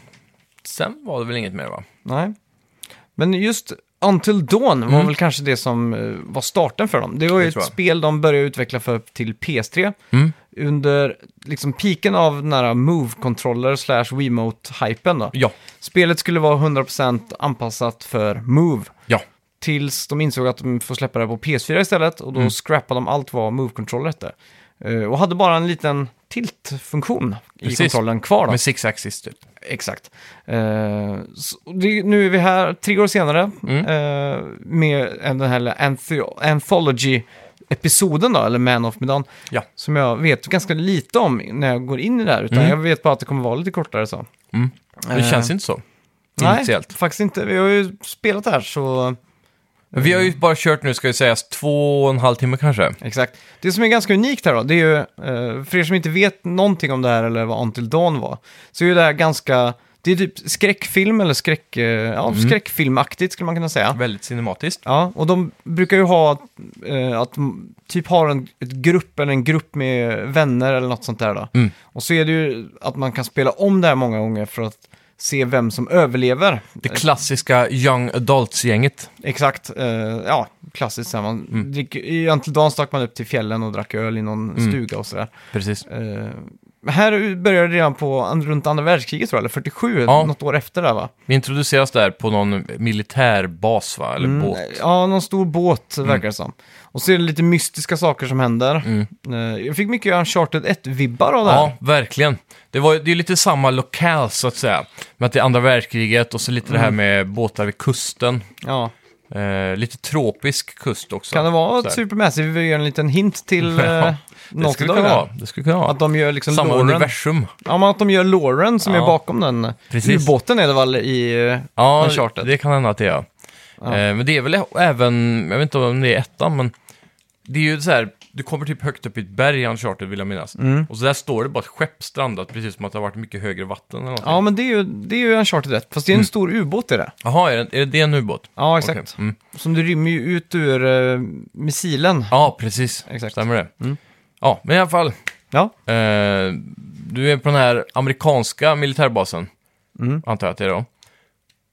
[SPEAKER 2] sen var det väl inget mer va?
[SPEAKER 1] Nej. Men just Until Dawn var väl kanske det som eh, var starten för dem. Det var ju
[SPEAKER 2] Mm. Det
[SPEAKER 1] ett
[SPEAKER 2] tror jag. Mm.
[SPEAKER 1] spel de började utveckla för till PS3. Under liksom piken av den här Move-controller slash Wiimote-hypen då.
[SPEAKER 2] Ja.
[SPEAKER 1] Spelet skulle vara 100% anpassat för Move.
[SPEAKER 2] Ja.
[SPEAKER 1] Tills de insåg att de får släppa det på PS4 istället och då
[SPEAKER 2] Mm.
[SPEAKER 1] scrappade de allt vad Move-controller hette. Eh, och hade bara en liten tilt-funktion i
[SPEAKER 2] Precis.
[SPEAKER 1] kontrollen kvar då.
[SPEAKER 2] Med six axis typ.
[SPEAKER 1] Exakt. Eh, så det, nu är vi här tre år senare
[SPEAKER 2] Mm.
[SPEAKER 1] eh, med en- den här anth- Anthology-episoden då, eller Man of Medan.
[SPEAKER 2] Ja.
[SPEAKER 1] Som jag vet ganska lite om när jag går in i det här, utan jag vet bara att det kommer vara lite kortare så.
[SPEAKER 2] Mm. Det
[SPEAKER 1] Eh,
[SPEAKER 2] känns inte så.
[SPEAKER 1] Nej,
[SPEAKER 2] Initiellt.
[SPEAKER 1] faktiskt inte. Vi har ju spelat det här så...
[SPEAKER 2] Men Vi har ju bara kört nu, ska ju sägas, två och en halv timme kanske.
[SPEAKER 1] Exakt. Det som är ganska unikt här då, det är ju, eh, för er som inte vet någonting om det här eller vad Until Dawn var, så är ju det här ganska, det är typ skräckfilm eller skräck, eh, ja,
[SPEAKER 2] Mm.
[SPEAKER 1] skräckfilmaktigt skulle man kunna säga.
[SPEAKER 2] Väldigt cinematiskt.
[SPEAKER 1] Ja, och de brukar ju ha eh, att de typ har en ett grupp eller en grupp med vänner eller något sånt där då.
[SPEAKER 2] Mm.
[SPEAKER 1] Och så är det ju att man kan spela om det här många gånger för att se vem som överlever.
[SPEAKER 2] Det klassiska Young Adults-gänget.
[SPEAKER 1] Exakt, eh, ja, klassiskt så här. Man
[SPEAKER 2] Mm.
[SPEAKER 1] dricker, I Until Dawn stack man upp till fjällen och drack öl i någon stuga och sådär.
[SPEAKER 2] Precis.
[SPEAKER 1] Eh, men här började det redan på an- runt andra världskriget tror jag, eller 47,
[SPEAKER 2] Ja.
[SPEAKER 1] något år efter där va?
[SPEAKER 2] Vi introduceras där på någon militärbas va? Eller
[SPEAKER 1] Mm,
[SPEAKER 2] båt.
[SPEAKER 1] Eh,
[SPEAKER 2] Mm.
[SPEAKER 1] Ja, någon stor båt verkar det som. Och så är det lite mystiska saker som händer. Eh, Jag fick mycket Uncharted 1-vibbar av det här.
[SPEAKER 2] Ja, verkligen. Det, var, det är lite samma lokal så att säga. Med att det är andra världskriget och så lite
[SPEAKER 1] Mm.
[SPEAKER 2] det här med båtar vid kusten.
[SPEAKER 1] Ja.
[SPEAKER 2] Eh, lite tropisk kust också.
[SPEAKER 1] Kan det vara
[SPEAKER 2] Så
[SPEAKER 1] att
[SPEAKER 2] här.
[SPEAKER 1] Supermassive vill göra en liten hint till eh,
[SPEAKER 2] Ja, Det
[SPEAKER 1] något
[SPEAKER 2] skulle
[SPEAKER 1] idag?
[SPEAKER 2] kunna
[SPEAKER 1] där?
[SPEAKER 2] vara. Det skulle kunna vara.
[SPEAKER 1] Att de gör liksom
[SPEAKER 2] Samma
[SPEAKER 1] Lauren.
[SPEAKER 2] universum.
[SPEAKER 1] Ja, men att de gör Lauren som
[SPEAKER 2] Ja.
[SPEAKER 1] är bakom den.
[SPEAKER 2] Precis.
[SPEAKER 1] Ubåten är det väl i eh,
[SPEAKER 2] Ja,
[SPEAKER 1] Uncharted?
[SPEAKER 2] det kan hända att det är. Ja. Eh, men det är väl ä- även, jag vet inte om det är ettan, men det är ju så här, du kommer typ högt upp i ett berg i Uncharted vill jag minnas.
[SPEAKER 1] Mm.
[SPEAKER 2] Och så där står det bara ett skepp strandat, precis som att det har varit mycket högre vatten eller någonting.
[SPEAKER 1] Ja, men det är ju, det är ju Uncharted 1, fast det är en
[SPEAKER 2] Mm.
[SPEAKER 1] stor ubåt i det.
[SPEAKER 2] Jaha, är det, är det en ubåt?
[SPEAKER 1] Ja, exakt.
[SPEAKER 2] Okej, mm.
[SPEAKER 1] Som du rymmer ju ut ur eh, missilen.
[SPEAKER 2] Ja, precis.
[SPEAKER 1] Exakt. Mm.
[SPEAKER 2] Stämmer det. Ja, men i alla fall,
[SPEAKER 1] Ja,
[SPEAKER 2] eh, du är på den här amerikanska militärbasen,
[SPEAKER 1] Mm.
[SPEAKER 2] antar jag att det är då.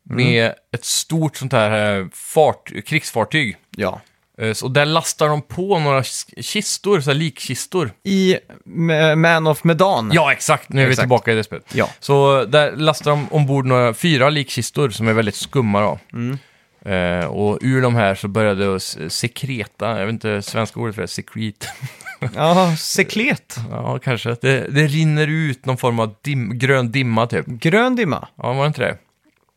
[SPEAKER 2] Med ett stort sånt här eh, fart, krigsfartyg.
[SPEAKER 1] ja.
[SPEAKER 2] Eh, så- Och där lastar de på några k- kistor, så här likkistor.
[SPEAKER 1] I Ma- Man of Medan.
[SPEAKER 2] Ja, exakt. Nu är
[SPEAKER 1] Exakt.
[SPEAKER 2] vi tillbaka i det spelet.
[SPEAKER 1] Ja.
[SPEAKER 2] Så där lastar de ombord några, fyra likkistor som är väldigt skumma då.
[SPEAKER 1] Mm.
[SPEAKER 2] Eh, och ur de här så började det s- sekreta, jag vet inte svenska ordet för det, sekret.
[SPEAKER 1] Ja, seklet.
[SPEAKER 2] ja, kanske. Det, det rinner ut någon form av dim, grön dimma typ.
[SPEAKER 1] Grön dimma.
[SPEAKER 2] Ja, var det inte det?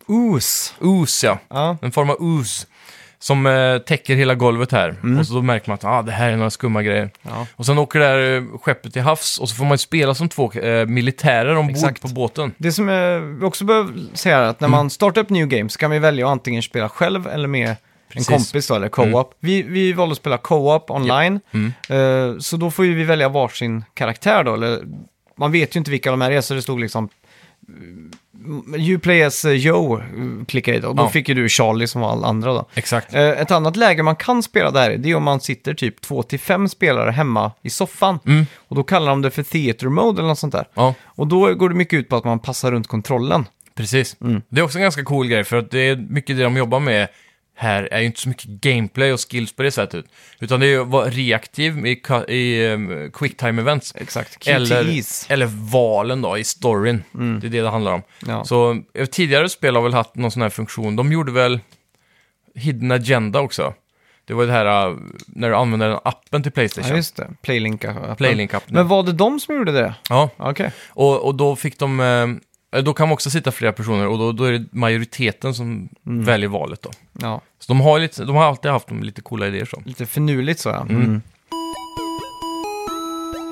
[SPEAKER 1] Os.
[SPEAKER 2] Ooze, ja.
[SPEAKER 1] Ja.
[SPEAKER 2] En form av ooze. Som eh, täcker hela golvet här. Och så då märker man att ah, det här är några skumma grejer.
[SPEAKER 1] Ja.
[SPEAKER 2] Och sen åker det här eh, skeppet till havs och så får man ju spela som två eh, militärer ombord
[SPEAKER 1] Exakt.
[SPEAKER 2] på båten.
[SPEAKER 1] Det som eh, vi också behöver säga är att när man startar upp New Game så kan vi välja att antingen spela själv eller med
[SPEAKER 2] Precis.
[SPEAKER 1] en kompis då, eller co-op. Vi, vi valde att spela co-op online, Eh, så då får ju vi välja varsin karaktär då. Eller, man vet ju inte vilka de här är, så det stod liksom eh, You play as eh, Joe, eh, klicka i då. Då
[SPEAKER 2] Ja.
[SPEAKER 1] fick ju du Charlie som var alla andra då.
[SPEAKER 2] Exakt.
[SPEAKER 1] Eh, Ett annat läge man kan spela där det är om man sitter typ två till fem spelare hemma i soffan. Och då kallar de det för theater mode eller något sånt där.
[SPEAKER 2] Ja,
[SPEAKER 1] Och då går det mycket ut på att man passar runt kontrollen.
[SPEAKER 2] precis. Mm. Det är också en ganska cool grej för att det är mycket det de jobbar med här är ju inte så mycket gameplay och skills på det sättet. Utan det är ju att vara reaktiv i, ka- i um, quicktime events.
[SPEAKER 1] Exakt, QTEs.
[SPEAKER 2] Eller, eller valen då, i storyn. Det är det det handlar om.
[SPEAKER 1] Mm. Ja.
[SPEAKER 2] Så eh, tidigare spel har väl haft någon sån här funktion. De gjorde väl Hidden Agenda också. Det var det här eh, när du använde den appen till
[SPEAKER 1] Ja,
[SPEAKER 2] Playstation.
[SPEAKER 1] just det. Playlinka.
[SPEAKER 2] Playlink-appen.
[SPEAKER 1] Men var det de som gjorde det?
[SPEAKER 2] ja.
[SPEAKER 1] Okej.
[SPEAKER 2] Och, och då fick de... eh, Då kan man också sitta flera personer och då, då är det majoriteten som
[SPEAKER 1] Mm.
[SPEAKER 2] väljer valet då.
[SPEAKER 1] Ja,
[SPEAKER 2] Så de har, ju lite, de har alltid haft de lite coola idéer så.
[SPEAKER 1] lite finurligt så ja. Mm.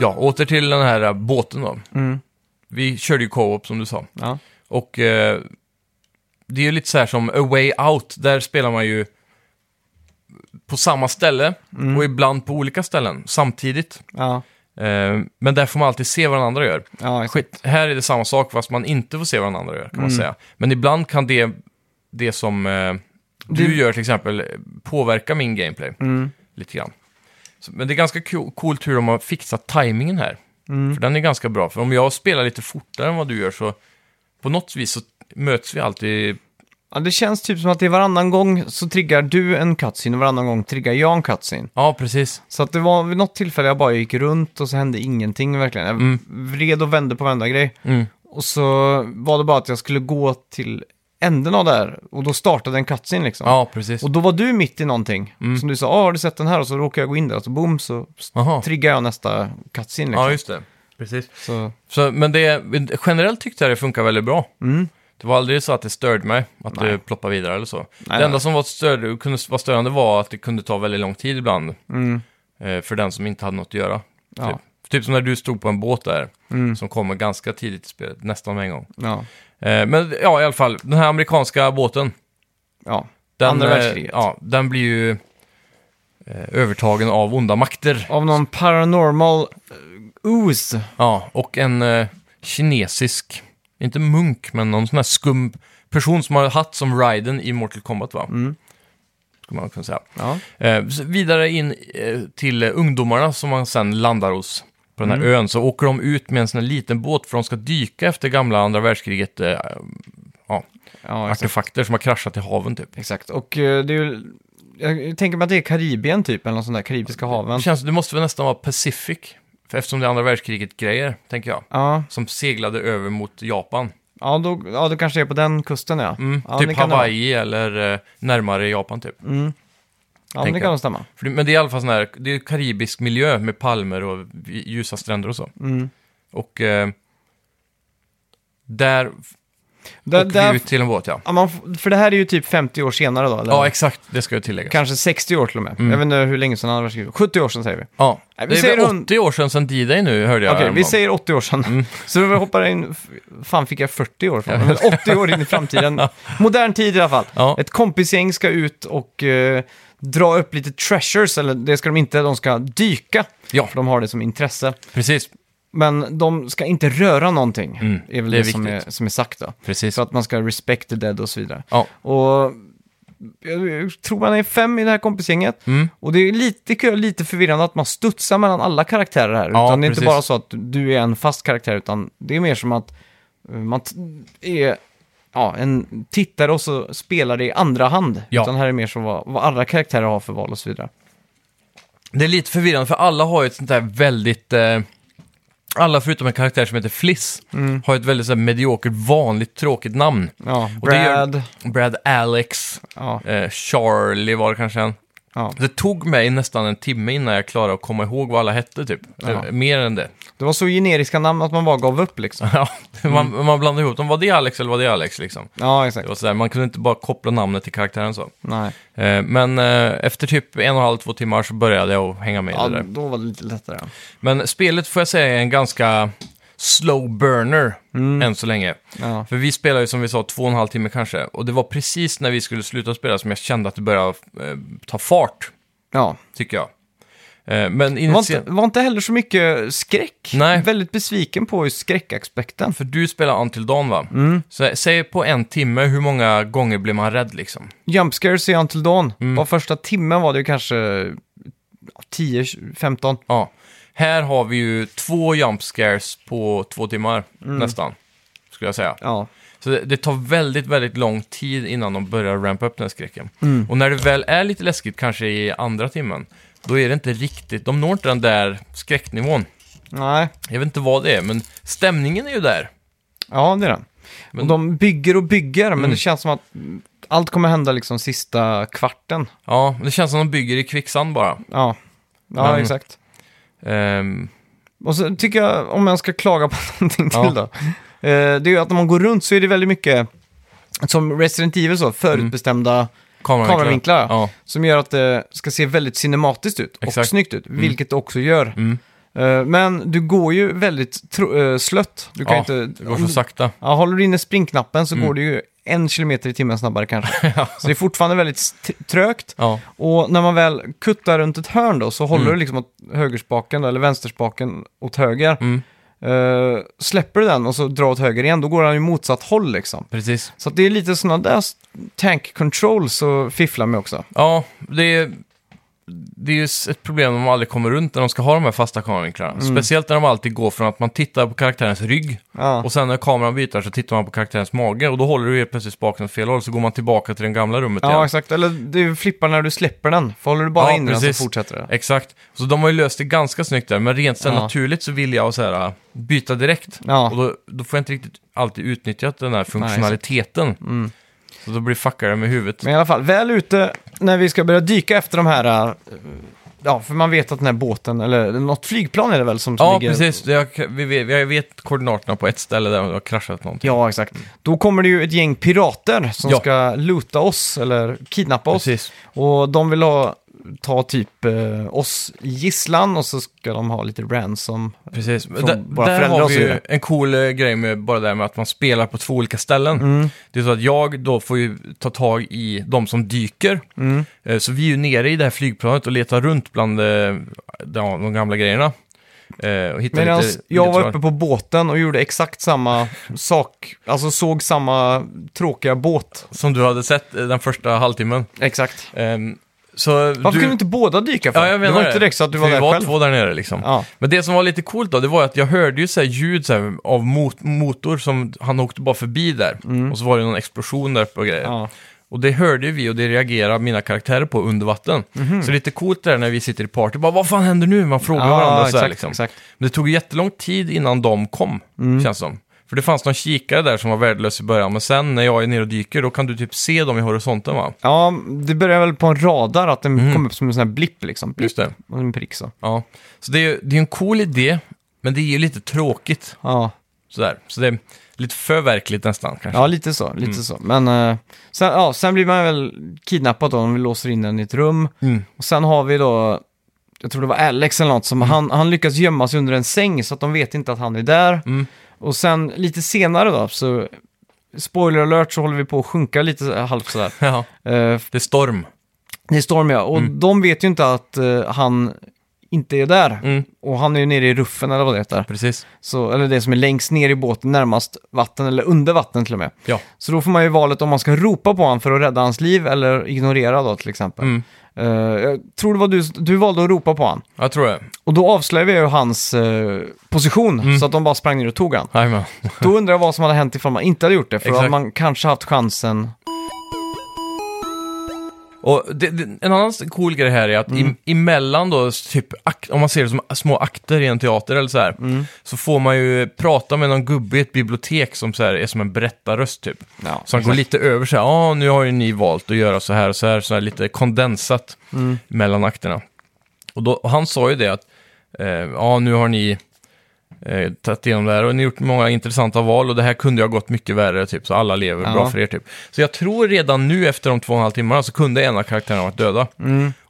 [SPEAKER 2] Ja, åter till den här eh, båten då.
[SPEAKER 1] Mm.
[SPEAKER 2] Vi körde ju co-op som du sa.
[SPEAKER 1] ja.
[SPEAKER 2] Och eh, det är ju lite så här som A Way Out, där spelar man ju på samma ställe och ibland på olika ställen samtidigt.
[SPEAKER 1] Ja,
[SPEAKER 2] Eh, men där får man alltid se vad den andra gör.
[SPEAKER 1] ja exakt.
[SPEAKER 2] Skit. Mm. Här är det samma sak fast man inte får se vad den andra gör, kan man säga. Men ibland kan det, det som eh, du
[SPEAKER 1] Det-
[SPEAKER 2] gör till exempel eh, påverka min gameplay
[SPEAKER 1] Mm.
[SPEAKER 2] lite grann. Så, men det är ganska co- coolt hur de har fixat timingen här. För den är ganska bra. För om jag spelar lite fortare än vad du gör så på något vis så möts vi alltid.
[SPEAKER 1] Ja, det känns typ som att det är varannan gång så triggar du en cutscene och varannan gång triggar jag en cutscene.
[SPEAKER 2] Ja, precis.
[SPEAKER 1] Så att det var vid något tillfälle jag bara gick runt och så hände ingenting verkligen. Jag vred och vände på varenda grej.
[SPEAKER 2] Mm.
[SPEAKER 1] Och så var det bara att jag skulle gå till änden av det här och då startade en cutscene liksom.
[SPEAKER 2] Ja, Mm. precis.
[SPEAKER 1] Och då var du mitt i någonting. Som du sa, ah, har du sett den här? Och så råkar jag gå in där och så boom så s-
[SPEAKER 2] Aha.
[SPEAKER 1] triggar jag nästa cutscene liksom.
[SPEAKER 2] Ja, just det. Precis.
[SPEAKER 1] så,
[SPEAKER 2] Så, men det, generellt tyckte jag det funkar väldigt bra.
[SPEAKER 1] Mm.
[SPEAKER 2] Det var aldrig så att det störde mig, att
[SPEAKER 1] Nej.
[SPEAKER 2] det ploppade vidare eller så.
[SPEAKER 1] nej,
[SPEAKER 2] det enda
[SPEAKER 1] nej.
[SPEAKER 2] som var störde, kunde vara störande var att det kunde ta väldigt lång tid ibland
[SPEAKER 1] Mm.
[SPEAKER 2] eh, för den som inte hade något att göra.
[SPEAKER 1] Ja.
[SPEAKER 2] Typ. typ som när du stod på en båt där,
[SPEAKER 1] Mm.
[SPEAKER 2] som kommer ganska tidigt i spelet, nästan med en gång.
[SPEAKER 1] Ja.
[SPEAKER 2] Eh, men ja, i alla fall, den här amerikanska båten.
[SPEAKER 1] ja.
[SPEAKER 2] Den,
[SPEAKER 1] Andra
[SPEAKER 2] eh,
[SPEAKER 1] världskriget.
[SPEAKER 2] ja, den blir ju eh, övertagen av onda makter.
[SPEAKER 1] Av någon paranormal eh, ooze.
[SPEAKER 2] Ja, och en eh, kinesisk, inte munk, men någon sån här skum person som har hatt som Raiden i Mortal Kombat va?
[SPEAKER 1] Mm.
[SPEAKER 2] Skulle man kunna säga.
[SPEAKER 1] Ja.
[SPEAKER 2] Eh, så vidare in eh, till eh, ungdomarna som man sen landar hos på den här
[SPEAKER 1] Mm.
[SPEAKER 2] ön. Så åker de ut med en sån här liten båt för de ska dyka efter gamla andra världskriget eh,
[SPEAKER 1] ja exakt.
[SPEAKER 2] artefakter som har kraschat i haven typ.
[SPEAKER 1] exakt. Och eh, det är ju... Jag tänker mig att det är Karibien typ, eller någon sån där karibiska haven.
[SPEAKER 2] Det, känns, det måste väl nästan vara Pacific, för eftersom det är andra världskriget-grejer, tänker jag.
[SPEAKER 1] Ja,
[SPEAKER 2] Som seglade över mot Japan.
[SPEAKER 1] ja, då, ja, då kanske det är på den kusten ja.
[SPEAKER 2] Mm,
[SPEAKER 1] ja det
[SPEAKER 2] typ
[SPEAKER 1] kan det
[SPEAKER 2] Hawaii eller eh, närmare Japan typ.
[SPEAKER 1] vara. Ja, men
[SPEAKER 2] tänker
[SPEAKER 1] det kan
[SPEAKER 2] jag.
[SPEAKER 1] nog stämma.
[SPEAKER 2] För det, men det är i alla fall sån här, det är karibisk miljö med palmer och ljusa stränder och så.
[SPEAKER 1] Mm.
[SPEAKER 2] Och eh, där
[SPEAKER 1] Där,
[SPEAKER 2] åker vi
[SPEAKER 1] där,
[SPEAKER 2] ut till en båt ja.
[SPEAKER 1] ja, man, f- för det här är ju typ 50 år senare då, eller?
[SPEAKER 2] Ja, Mm. exakt. Det ska jag tillägga.
[SPEAKER 1] Kanske 60 år till och med. Jag vet inte hur länge sedan andra världskriget 70 år sedan säger vi.
[SPEAKER 2] ja.
[SPEAKER 1] Nej, vi
[SPEAKER 2] det är
[SPEAKER 1] säger
[SPEAKER 2] väl
[SPEAKER 1] hon-
[SPEAKER 2] 80 år sedan sen D-Day nu, hörde jag.
[SPEAKER 1] Okej, vi
[SPEAKER 2] häromdagen.
[SPEAKER 1] säger 80 år sedan.
[SPEAKER 2] Mm.
[SPEAKER 1] Så vi hoppar in, f- fan fick jag 40 år från? Eller 80 år in i framtiden. Modern tid i alla fall.
[SPEAKER 2] Ja.
[SPEAKER 1] Ett kompisgäng ska ut och eh, dra upp lite treasures, eller det ska de inte, de ska dyka.
[SPEAKER 2] Ja.
[SPEAKER 1] För de har det som intresse.
[SPEAKER 2] Precis,
[SPEAKER 1] Men de ska inte röra någonting,
[SPEAKER 2] Mm,
[SPEAKER 1] är väl
[SPEAKER 2] det
[SPEAKER 1] det,
[SPEAKER 2] är
[SPEAKER 1] som, är,
[SPEAKER 2] viktigt.
[SPEAKER 1] som är sagt då.
[SPEAKER 2] precis.
[SPEAKER 1] Så att man ska respect the dead och så vidare.
[SPEAKER 2] Ja.
[SPEAKER 1] Och jag jag tror man är fem i det här kompisgänget.
[SPEAKER 2] Mm.
[SPEAKER 1] Och det är lite, det är lite förvirrande att man studsar mellan alla karaktärer här.
[SPEAKER 2] Ja,
[SPEAKER 1] utan det är inte
[SPEAKER 2] precis.
[SPEAKER 1] bara så att du är en fast karaktär, utan det är mer som att eh, man t- är ja, en tittare och så spelar det i andra hand.
[SPEAKER 2] Ja.
[SPEAKER 1] Utan här är mer som vad, vad alla karaktärer har för val och så vidare.
[SPEAKER 2] Det är lite förvirrande, för alla har ju ett sånt där väldigt... Eh, alla förutom en karaktär som heter Fliss
[SPEAKER 1] Mm.
[SPEAKER 2] har ett väldigt så här, mediokert, vanligt, tråkigt namn.
[SPEAKER 1] Ja,
[SPEAKER 2] Och det gör-
[SPEAKER 1] Brad,
[SPEAKER 2] Brad Alex,
[SPEAKER 1] ja,
[SPEAKER 2] eh, Charlie var det kanske en.
[SPEAKER 1] Ja.
[SPEAKER 2] Det tog mig nästan en timme innan jag klarade att komma ihåg vad alla hette typ.
[SPEAKER 1] Ja.
[SPEAKER 2] Eh, Mer än det.
[SPEAKER 1] Det var så generiska namn att man bara gav upp liksom.
[SPEAKER 2] Ja, man, man blandade ihop dem. Var det Alex eller var det Alex liksom?
[SPEAKER 1] Ja,
[SPEAKER 2] Det
[SPEAKER 1] exakt.
[SPEAKER 2] var sådär, man kunde inte bara koppla namnet till karaktären så.
[SPEAKER 1] Nej.
[SPEAKER 2] Eh, Men eh, efter typ en och en halv, två timmar så började jag att hänga med
[SPEAKER 1] Ja,
[SPEAKER 2] i det där.
[SPEAKER 1] då var det lite lättare.
[SPEAKER 2] Men spelet får jag säga är en ganska slow burner än så länge.
[SPEAKER 1] Ja.
[SPEAKER 2] För vi spelade ju som vi sa två och en halv timme kanske. Och det var precis när vi skulle sluta spela som jag kände att det började eh, ta fart,
[SPEAKER 1] ja.
[SPEAKER 2] tycker jag. Eh, men
[SPEAKER 1] Det var,
[SPEAKER 2] initialt...
[SPEAKER 1] inte, var inte heller så mycket skräck.
[SPEAKER 2] Nej.
[SPEAKER 1] Väldigt besviken på just skräckaspekten.
[SPEAKER 2] För du spelar Until Dawn va? Så, säg på en timme hur många gånger blir man rädd liksom?
[SPEAKER 1] Jump scares i Until Dawn. Var första timmen var det ju kanske 10-15.
[SPEAKER 2] Ja. Här har vi ju två jump scares på två timmar nästan, skulle jag säga.
[SPEAKER 1] Ja.
[SPEAKER 2] Så det, det tar väldigt, väldigt lång tid innan de börjar rampa upp den här skräcken. Och när det väl är lite läskigt, kanske i andra timmen, då är det inte riktigt, de når inte den där skräcknivån.
[SPEAKER 1] Nej.
[SPEAKER 2] Jag vet inte vad det är, men stämningen är ju där.
[SPEAKER 1] Ja, det är den.
[SPEAKER 2] Men-
[SPEAKER 1] Och de bygger och bygger, men det känns som att allt kommer hända liksom sista kvarten.
[SPEAKER 2] Ja, det känns som de bygger i kvicksand bara.
[SPEAKER 1] Ja, ja
[SPEAKER 2] Men-
[SPEAKER 1] exakt.
[SPEAKER 2] Ehm,
[SPEAKER 1] Och så tycker jag, om jag ska klaga på någonting
[SPEAKER 2] Ja.
[SPEAKER 1] till då. eh, Det är ju att när man går runt så är det väldigt mycket, som Resident Evil så, förutbestämda
[SPEAKER 2] kameravinklar.
[SPEAKER 1] Kameravinklar, ja.
[SPEAKER 2] ja.
[SPEAKER 1] som gör att det ska se väldigt cinematiskt ut och
[SPEAKER 2] Exakt. Mm.
[SPEAKER 1] snyggt ut, vilket det också gör. Eh, Men du går ju väldigt tro- eh, slött. Du kan
[SPEAKER 2] ja,
[SPEAKER 1] inte...
[SPEAKER 2] det går Mm.
[SPEAKER 1] om
[SPEAKER 2] så
[SPEAKER 1] du,
[SPEAKER 2] sakta.
[SPEAKER 1] ja, håller du inne springknappen så går det ju en kilometer i timmen snabbare kanske. Så det är fortfarande väldigt st- trögt.
[SPEAKER 2] Ja,
[SPEAKER 1] Och när man väl kuttar runt ett hörn då så håller
[SPEAKER 2] Mm.
[SPEAKER 1] du liksom åt högerspaken eller vänsterspaken åt höger.
[SPEAKER 2] Mm.
[SPEAKER 1] Eh, släpper du den och så drar åt höger igen, då går han ju motsatt håll liksom.
[SPEAKER 2] precis.
[SPEAKER 1] Så att det är lite sådana där s- tank controls att fiffla med också.
[SPEAKER 2] Ja, det är, det är ju s- ett problem de aldrig kommer runt när de ska ha de här fasta kameravinklarna.
[SPEAKER 1] Mm.
[SPEAKER 2] Speciellt när de alltid går från att man tittar på karaktärens rygg
[SPEAKER 1] Ja.
[SPEAKER 2] och sen när kameran byter så tittar man på karaktärens mage och då håller du helt plötsligt spaken åt fel håll så går man tillbaka till det gamla rummet
[SPEAKER 1] Ja,
[SPEAKER 2] igen.
[SPEAKER 1] exakt. Eller du flippar när du släpper den. För håller du bara
[SPEAKER 2] Ja,
[SPEAKER 1] in den
[SPEAKER 2] precis.
[SPEAKER 1] så fortsätter det.
[SPEAKER 2] Exakt. Så de har ju löst det ganska snyggt där, men rent så här
[SPEAKER 1] Ja.
[SPEAKER 2] naturligt så vill jag så här, äh, byta direkt.
[SPEAKER 1] Ja.
[SPEAKER 2] Och då, då får jag inte riktigt alltid utnyttjat den här funktionaliteten.
[SPEAKER 1] Mm.
[SPEAKER 2] Så då blir fuckar det med huvudet.
[SPEAKER 1] Men i alla fall, väl ute när vi ska börja dyka efter de här... eh, Ja, för man vet att den här båten, eller något flygplan är det väl som som
[SPEAKER 2] Ja,
[SPEAKER 1] ligger...
[SPEAKER 2] precis. Jag, vi vet, jag vet koordinaterna på ett ställe där det har kraschat någonting.
[SPEAKER 1] Ja, exakt. Då kommer det ju ett gäng pirater som
[SPEAKER 2] Mm. Ja.
[SPEAKER 1] ska loota oss, eller kidnappa oss.
[SPEAKER 2] Precis.
[SPEAKER 1] Och de vill ha, ta typ eh, oss i gisslan och så ska de ha lite ransom.
[SPEAKER 2] Precis.
[SPEAKER 1] Från
[SPEAKER 2] Där,
[SPEAKER 1] våra
[SPEAKER 2] där
[SPEAKER 1] föräldrar
[SPEAKER 2] har
[SPEAKER 1] och
[SPEAKER 2] vi
[SPEAKER 1] så
[SPEAKER 2] ju
[SPEAKER 1] vidare.
[SPEAKER 2] en cool eh, grej med bara det här med att man spelar på två olika ställen.
[SPEAKER 1] Mm.
[SPEAKER 2] Det är så att jag då får ju ta tag i de som dyker.
[SPEAKER 1] Mm.
[SPEAKER 2] Eh, Så vi är ju nere i det här flygplanet och letar runt bland eh, de, de gamla grejerna. Eh, Och hittar
[SPEAKER 1] Medan
[SPEAKER 2] lite,
[SPEAKER 1] jag
[SPEAKER 2] lite
[SPEAKER 1] var
[SPEAKER 2] tråd.
[SPEAKER 1] uppe på båten och gjorde exakt samma sak, alltså såg samma tråkiga båt.
[SPEAKER 2] Som du hade sett eh, den första halvtimmen.
[SPEAKER 1] Exakt.
[SPEAKER 2] Eh, Så
[SPEAKER 1] Varför
[SPEAKER 2] du...
[SPEAKER 1] kunde inte båda dyka för?
[SPEAKER 2] Ja, jag menar
[SPEAKER 1] det var inte direkt så att du var
[SPEAKER 2] För
[SPEAKER 1] där
[SPEAKER 2] vi var
[SPEAKER 1] själv.
[SPEAKER 2] två där nere liksom.
[SPEAKER 1] Ja.
[SPEAKER 2] Men det som var lite coolt då, det var att jag hörde ju så här ljud så här, av mot motor som han åkte bara förbi där. Och så var det någon explosion där uppe och grejer.
[SPEAKER 1] Mm. Ja.
[SPEAKER 2] Och det hörde ju vi och det reagerade mina karaktärer på under vatten. Så lite coolt där när vi sitter i party, bara vad fan händer nu? Man frågar
[SPEAKER 1] Mhm. Ja,
[SPEAKER 2] varandra så här
[SPEAKER 1] exakt, Mm.
[SPEAKER 2] liksom.
[SPEAKER 1] exakt.
[SPEAKER 2] Men det tog jättelång tid innan de kom, känns som. För det fanns någon kikare där som var värdelös i början, men sen när jag är nere och dyker, då kan du typ se dem i horisonten va?
[SPEAKER 1] ja, det började väl på en radar att den kom upp som en sån här blipp liksom. Blipp,
[SPEAKER 2] Mm. Just det.
[SPEAKER 1] och en prick så.
[SPEAKER 2] Ja. Så det är ju det är en cool idé, men det är ju lite tråkigt.
[SPEAKER 1] Ja.
[SPEAKER 2] Sådär. Så det är lite för verkligt nästan kanske. Mm.
[SPEAKER 1] ja, lite så. Lite så. Men eh, sen, ja, sen blir man väl kidnappad då, om vi låser in den i ett rum.
[SPEAKER 2] Mm.
[SPEAKER 1] Och sen har vi då, jag tror det var Alex eller något, som
[SPEAKER 2] Mm.
[SPEAKER 1] han, han lyckas gömma sig under en säng så att de vet inte att han är där.
[SPEAKER 2] Mm.
[SPEAKER 1] Och sen lite senare då, så spoiler alert, så håller vi på att sjunka lite så här, halvt sådär.
[SPEAKER 2] Ja,
[SPEAKER 1] Eh,
[SPEAKER 2] det är storm.
[SPEAKER 1] Det är Storm ja, och de vet ju inte att eh, han inte är där.
[SPEAKER 2] Mm.
[SPEAKER 1] Och han är ju nere i ruffen eller vad det heter.
[SPEAKER 2] Precis.
[SPEAKER 1] Så, eller det som är längst ner i båten, närmast vatten eller under vatten till och med.
[SPEAKER 2] Ja.
[SPEAKER 1] Så då får man ju valet om man ska ropa på honom för att rädda hans liv eller ignorera då till exempel.
[SPEAKER 2] Mm.
[SPEAKER 1] Eh, jag tror det var du, du valde att ropa på honom.
[SPEAKER 2] Jag tror det.
[SPEAKER 1] Och då avslöjade jag ju hans eh, position så att de bara sprang ner och tog han.
[SPEAKER 2] Jajamän.
[SPEAKER 1] Då undrar jag vad som hade hänt ifall man inte hade gjort det, för då hade
[SPEAKER 2] Exakt.
[SPEAKER 1] man kanske haft chansen.
[SPEAKER 2] Och det, det, en annan cool grej här är att i, emellan då, typ, ak, om man ser det som små akter i en teater eller så här, så får man ju prata med någon gubbe i ett bibliotek som så här, är som en berättarröst typ.
[SPEAKER 1] Ja,
[SPEAKER 2] så han går lite över så här, ja nu har ju ni valt att göra så här och så här, så här lite kondensat mellan akterna. Och, då, och han sa ju det att, eh, ja nu har ni eh, tagit igenom det här och ni har gjort många intressanta val och det här kunde ju ha gått mycket värre typ, så alla lever
[SPEAKER 1] Ja.
[SPEAKER 2] bra för er typ. Så jag tror redan nu efter de två och en halv timmarna så kunde en av karaktärerna varit döda.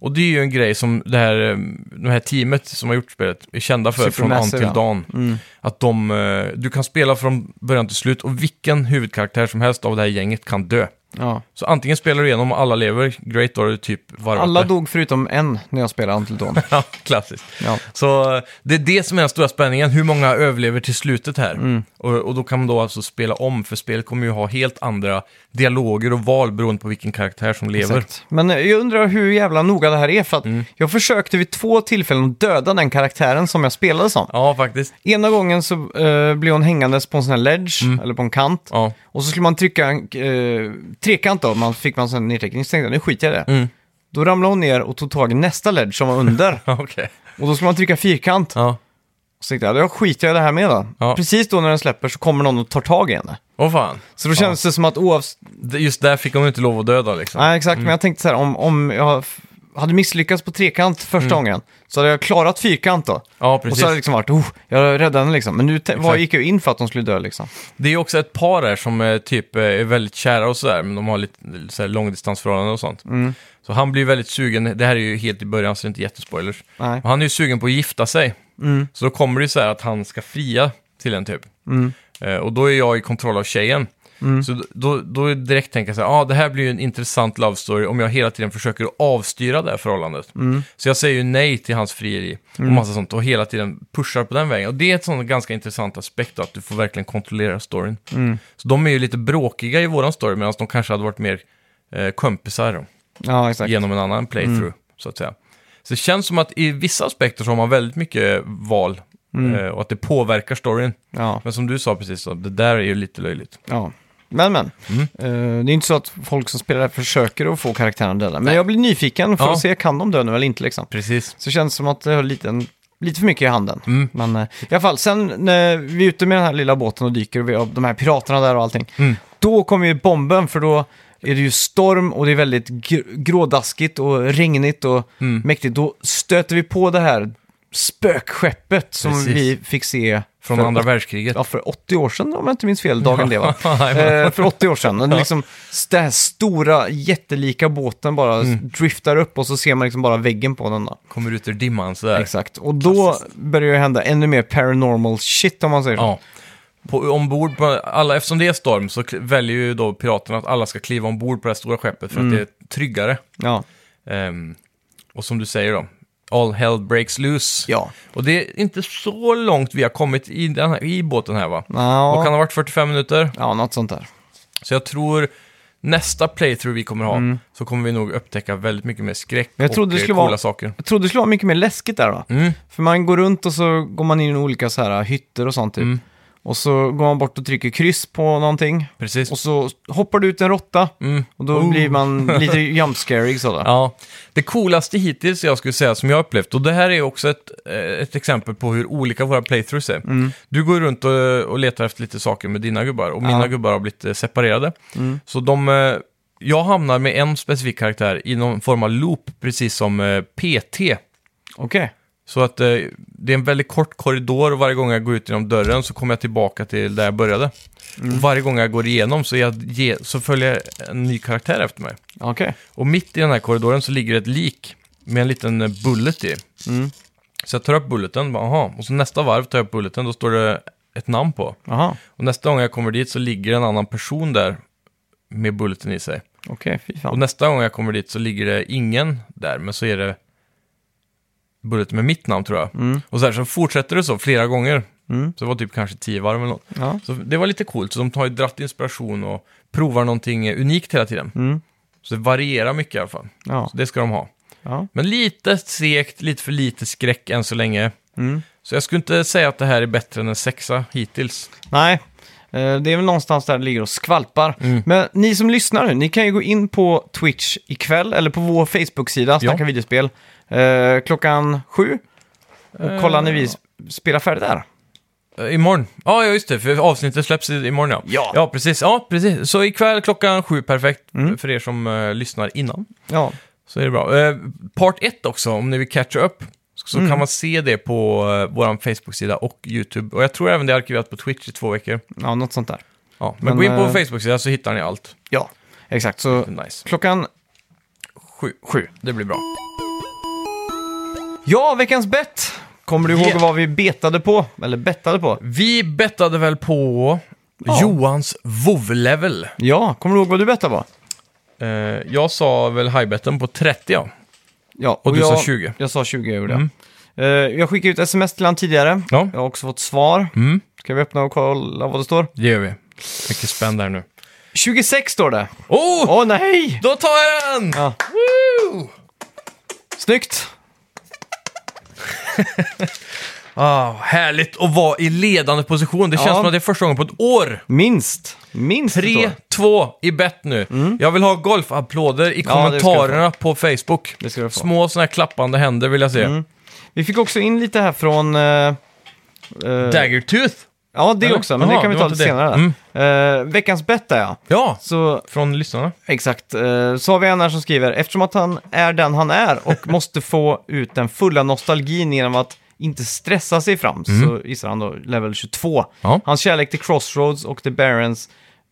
[SPEAKER 2] Och det är ju en grej som det här, eh, det här teamet som har gjort spelet är kända för från
[SPEAKER 1] Supermassive,
[SPEAKER 2] Until
[SPEAKER 1] ja. Mm.
[SPEAKER 2] Dawn. Att de, eh, du kan spela från början till slut och vilken huvudkaraktär som helst av det här gänget kan dö.
[SPEAKER 1] Ja.
[SPEAKER 2] Så antingen spelar du igenom och alla lever, great, då har du typ varvat
[SPEAKER 1] Alla
[SPEAKER 2] det.
[SPEAKER 1] dog förutom en när jag spelade Until Dawn.
[SPEAKER 2] Ja, klassiskt.
[SPEAKER 1] Ja.
[SPEAKER 2] Så eh, det är det som är den stora spänningen, hur många överlever till slutet här.
[SPEAKER 1] Mm.
[SPEAKER 2] Och, och då kan man då alltså spela om, för spelet kommer ju ha helt andra dialoger och val beroende på vilken karaktär som lever.
[SPEAKER 1] Exakt. Men eh, jag undrar hur jävla noga det här är, för att jag försökte vid två tillfällen döda den karaktären som jag spelade som.
[SPEAKER 2] Ja, faktiskt.
[SPEAKER 1] Ena gången så eh, blev hon hängandes på en sån här ledge, eller på en kant.
[SPEAKER 2] Ja.
[SPEAKER 1] Och så skulle man trycka en eh, trekant då, man fick man sen en nedteckning, så tänkte jag nu skiter jag i det.
[SPEAKER 2] Mm.
[SPEAKER 1] Då ramlade hon ner och tog tag i nästa ledge som var under.
[SPEAKER 2] Okej.
[SPEAKER 1] och då skulle man trycka fyrkant.
[SPEAKER 2] Ja.
[SPEAKER 1] Så tänkte jag, då skiter jag i det här med då.
[SPEAKER 2] Ja.
[SPEAKER 1] Precis då när den släpper så kommer någon och tar tag i henne.
[SPEAKER 2] Åh fan.
[SPEAKER 1] Så då kändes det som att oavsett...
[SPEAKER 2] Det- Just där fick hon inte lov att döda liksom.
[SPEAKER 1] Nej, exakt, men jag tänkte så här, om, om jag f- hade misslyckats på trekant första gången så hade jag klarat fyrkant då.
[SPEAKER 2] Ja,
[SPEAKER 1] Och
[SPEAKER 2] Mm. precis.
[SPEAKER 1] så hade det liksom varit, oh, jag räddade henne liksom. Men nu te- vad gick jag in för att de skulle dö liksom.
[SPEAKER 2] Det är ju också ett par här som eh, typ eh, är väldigt kära och sådär, men de har lite så här, långdistansförhållanden och sånt. Så han blir ju väldigt sugen, det här är ju helt i början så det är inte jättespoilers.
[SPEAKER 1] Nej.
[SPEAKER 2] Och han är ju sugen på att gifta sig. Så då kommer det ju så här att han ska fria till en typ. Eh, och då är jag i kontroll av tjejen. Så då- då, då direkt tänker jag så här, ah, det här blir ju en intressant love story om jag hela tiden försöker att avstyra det här förhållandet. Så jag säger ju nej till hans frieri och massa sånt och hela tiden pushar på den vägen. Och det är ett sånt ganska intressant aspekt då, att du får verkligen kontrollera storyn. Så de är ju lite bråkiga i våran story medan de kanske hade varit mer eh, kompisar. Då
[SPEAKER 1] Ja, exakt. Mm.
[SPEAKER 2] genom en annan playthrough, så att säga. Så det känns som att i vissa aspekter så har man väldigt mycket val
[SPEAKER 1] Mm.
[SPEAKER 2] eh, och att det påverkar storyn.
[SPEAKER 1] Ja,
[SPEAKER 2] Men som du sa precis, så, det där är ju lite löjligt.
[SPEAKER 1] ja. Men men,
[SPEAKER 2] Mm.
[SPEAKER 1] Eh, det är inte så att folk som spelar det här försöker att få karaktären döda. Men jag blir nyfiken för
[SPEAKER 2] Ja.
[SPEAKER 1] att se, kan de dö nu eller inte liksom?
[SPEAKER 2] Precis.
[SPEAKER 1] Så det känns som att det har lite, lite för mycket i handen.
[SPEAKER 2] Mm.
[SPEAKER 1] Men eh, i alla fall, sen när vi är ute med den här lilla båten och dyker och vi har de här piraterna där och allting.
[SPEAKER 2] Mm.
[SPEAKER 1] Då kommer ju bomben för då är det ju storm och det är väldigt gr- grådaskigt och regnigt och
[SPEAKER 2] Mm.
[SPEAKER 1] mäktigt. Då stöter vi på det här spökskeppet som
[SPEAKER 2] Precis.
[SPEAKER 1] vi fick se
[SPEAKER 2] Från
[SPEAKER 1] för
[SPEAKER 2] andra världskriget.
[SPEAKER 1] ja, för 80 år sedan om jag inte minns fel, dagen det var.
[SPEAKER 2] Nej, men-
[SPEAKER 1] Eh, för 80 år sedan. Den, liksom, den här stora jättelika båten bara
[SPEAKER 2] Mm.
[SPEAKER 1] driftar upp och så ser man liksom bara väggen på den. Då.
[SPEAKER 2] Kommer ut ur dimman sådär.
[SPEAKER 1] Exakt. Och då börjar det hända ännu mer paranormal shit om man säger så.
[SPEAKER 2] Ja. På, ombord på alla, eftersom det är storm så kl- väljer ju då piraterna att alla ska kliva ombord på det här stora
[SPEAKER 1] Mm.
[SPEAKER 2] skeppet för att det är tryggare.
[SPEAKER 1] Ja.
[SPEAKER 2] Ehm, och som du säger då, all hell breaks loose.
[SPEAKER 1] Ja.
[SPEAKER 2] Och det är inte så långt vi har kommit i, den här, i båten här va? Vad kan
[SPEAKER 1] Ja.
[SPEAKER 2] det ha varit 45 minuter?
[SPEAKER 1] ja, något sånt där.
[SPEAKER 2] Så jag tror nästa playthrough vi kommer ha så kommer vi nog upptäcka väldigt mycket mer skräck
[SPEAKER 1] Mm. Jag trodde
[SPEAKER 2] och
[SPEAKER 1] det
[SPEAKER 2] eh,
[SPEAKER 1] skulle
[SPEAKER 2] coola
[SPEAKER 1] vara-
[SPEAKER 2] saker.
[SPEAKER 1] Jag trodde det skulle vara mycket mer läskigt där då.
[SPEAKER 2] Mm.
[SPEAKER 1] För man går runt och så går man in i olika så här hytter och sånt typ.
[SPEAKER 2] Mm.
[SPEAKER 1] Och så går man bort och trycker kryss på någonting.
[SPEAKER 2] Precis.
[SPEAKER 1] Och så hoppar du ut en råtta.
[SPEAKER 2] Mm.
[SPEAKER 1] Och då blir man lite jumpscarig sådär.
[SPEAKER 2] Ja, det coolaste hittills jag skulle säga som jag har upplevt, och det här är också ett, eh, ett exempel på hur olika våra playthroughs är. Du går runt och, och letar efter lite saker med dina gubbar, och mina
[SPEAKER 1] Mm. Ja. Mm.
[SPEAKER 2] gubbar har blivit eh, separerade. Så de, eh, jag hamnar med en specifik karaktär i någon form av loop, precis som eh, PT.
[SPEAKER 1] Okej.
[SPEAKER 2] Så att eh, det är en väldigt kort korridor och varje gång jag går ut genom dörren så kommer jag tillbaka till där jag började. Och varje gång jag går igenom så, är jag ge, så följer en ny karaktär efter mig.
[SPEAKER 1] Okej.
[SPEAKER 2] Och mitt i den här korridoren så ligger ett lik med en liten eh, bullet i.
[SPEAKER 1] Mm.
[SPEAKER 2] Så jag tar upp bulleten, bara, aha. och så nästa varv tar jag upp bulleten, då står det ett namn på.
[SPEAKER 1] Jaha.
[SPEAKER 2] Och nästa gång jag kommer dit så ligger en annan person där med bulleten i sig.
[SPEAKER 1] Okej, fy
[SPEAKER 2] Och
[SPEAKER 1] fan.
[SPEAKER 2] nästa gång jag kommer dit så ligger det ingen där, men så är det bullet med mitt namn tror jag.
[SPEAKER 1] Mm.
[SPEAKER 2] Och så, här, så fortsätter det så flera gånger. Så det var typ kanske tio varv eller något.
[SPEAKER 1] Ja.
[SPEAKER 2] Så det var lite coolt, så de har ju dratt inspiration och provar någonting eh, unikt hela tiden.
[SPEAKER 1] Mm.
[SPEAKER 2] Så det varierar mycket i alla fall.
[SPEAKER 1] Ja.
[SPEAKER 2] Så det ska de ha.
[SPEAKER 1] Ja.
[SPEAKER 2] Men lite segt, lite för lite skräck än så länge.
[SPEAKER 1] Mm.
[SPEAKER 2] Så jag skulle inte säga att det här är bättre än en sexa hittills.
[SPEAKER 1] Nej. Eh, Det är väl någonstans där det ligger och skvalpar. Men ni som lyssnar nu, ni kan ju gå in på Twitch ikväll, eller på vår Facebook-sida, Snacka
[SPEAKER 2] Ja.
[SPEAKER 1] videospel, eh, klockan sju. Och kolla när vi s- spelar färdigt där.
[SPEAKER 2] Eh, Imorgon. Ja, ja, just det. För avsnittet släpps i- imorgon, ja.
[SPEAKER 1] Ja.
[SPEAKER 2] Ja, precis. Ja, precis. Så ikväll klockan sju, perfekt. För er som eh, lyssnar innan.
[SPEAKER 1] Ja,
[SPEAKER 2] Så är det bra. Eh, part 1 också, om ni vill catcha upp. Så kan man se det på eh, vår Facebook-sida och YouTube. Och jag tror även det är arkiverat på Twitch i två veckor.
[SPEAKER 1] ja något sånt där.
[SPEAKER 2] Ja, men,
[SPEAKER 1] Men,
[SPEAKER 2] gå in på
[SPEAKER 1] eh,
[SPEAKER 2] Facebook-sidan så hittar ni allt.
[SPEAKER 1] Ja, exakt. Så
[SPEAKER 2] Nice.
[SPEAKER 1] klockan
[SPEAKER 2] Sju.
[SPEAKER 1] sju.
[SPEAKER 2] Det blir bra.
[SPEAKER 1] Ja, veckans bett! Kommer du ihåg
[SPEAKER 2] Yeah.
[SPEAKER 1] vad vi betade på? Eller bettade på?
[SPEAKER 2] Vi bettade väl på
[SPEAKER 1] Ja.
[SPEAKER 2] Johans vovlevel.
[SPEAKER 1] Ja, kommer du ihåg vad du bettade på?
[SPEAKER 2] Eh, jag sa väl highbetten på 30, ja.
[SPEAKER 1] Ja, och,
[SPEAKER 2] du sa
[SPEAKER 1] jag,
[SPEAKER 2] 20.
[SPEAKER 1] Jag sa 20 gjorde jag. Eh, jag skickade ut sms till han tidigare.
[SPEAKER 2] Ja.
[SPEAKER 1] Jag har också fått svar.
[SPEAKER 2] Mm.
[SPEAKER 1] Ska vi öppna och kolla vad det står?
[SPEAKER 2] Det gör vi. Mycket spänn där nu.
[SPEAKER 1] 26 står det.
[SPEAKER 2] Oh!
[SPEAKER 1] Åh nej!
[SPEAKER 2] Då tar jag den!
[SPEAKER 1] Ja.
[SPEAKER 2] Woo!
[SPEAKER 1] Snyggt!
[SPEAKER 2] Ah, härligt att vara i ledande position. Det känns
[SPEAKER 1] Ja.
[SPEAKER 2] som att det är första gången på ett år.
[SPEAKER 1] Minst. Minst det står.
[SPEAKER 2] 3-2 i bett nu. Jag vill ha golfapplåder i
[SPEAKER 1] Mm. Ja, det ska du få.
[SPEAKER 2] kommentarerna på Facebook.
[SPEAKER 1] Det ska du få. Mm.
[SPEAKER 2] Små sådana här klappande händer vill jag se.
[SPEAKER 1] Vi fick också in lite här från... eh, eh,
[SPEAKER 2] Dagger Tooth!
[SPEAKER 1] ja, det
[SPEAKER 2] Eller?
[SPEAKER 1] också, men det
[SPEAKER 2] Jaha,
[SPEAKER 1] kan vi
[SPEAKER 2] det
[SPEAKER 1] ta
[SPEAKER 2] var
[SPEAKER 1] lite
[SPEAKER 2] inte det. Mm.
[SPEAKER 1] senare. Eh, veckans bett där ja.
[SPEAKER 2] Ja,
[SPEAKER 1] Så
[SPEAKER 2] från lyssnarna.
[SPEAKER 1] Exakt. Eh, Så har vi en här som skriver, eftersom att han är den han är och måste få ut den fulla nostalgin genom att inte stressa sig fram, så gissar han då level 22.
[SPEAKER 2] Ja.
[SPEAKER 1] Hans kärlek till Crossroads och The Barons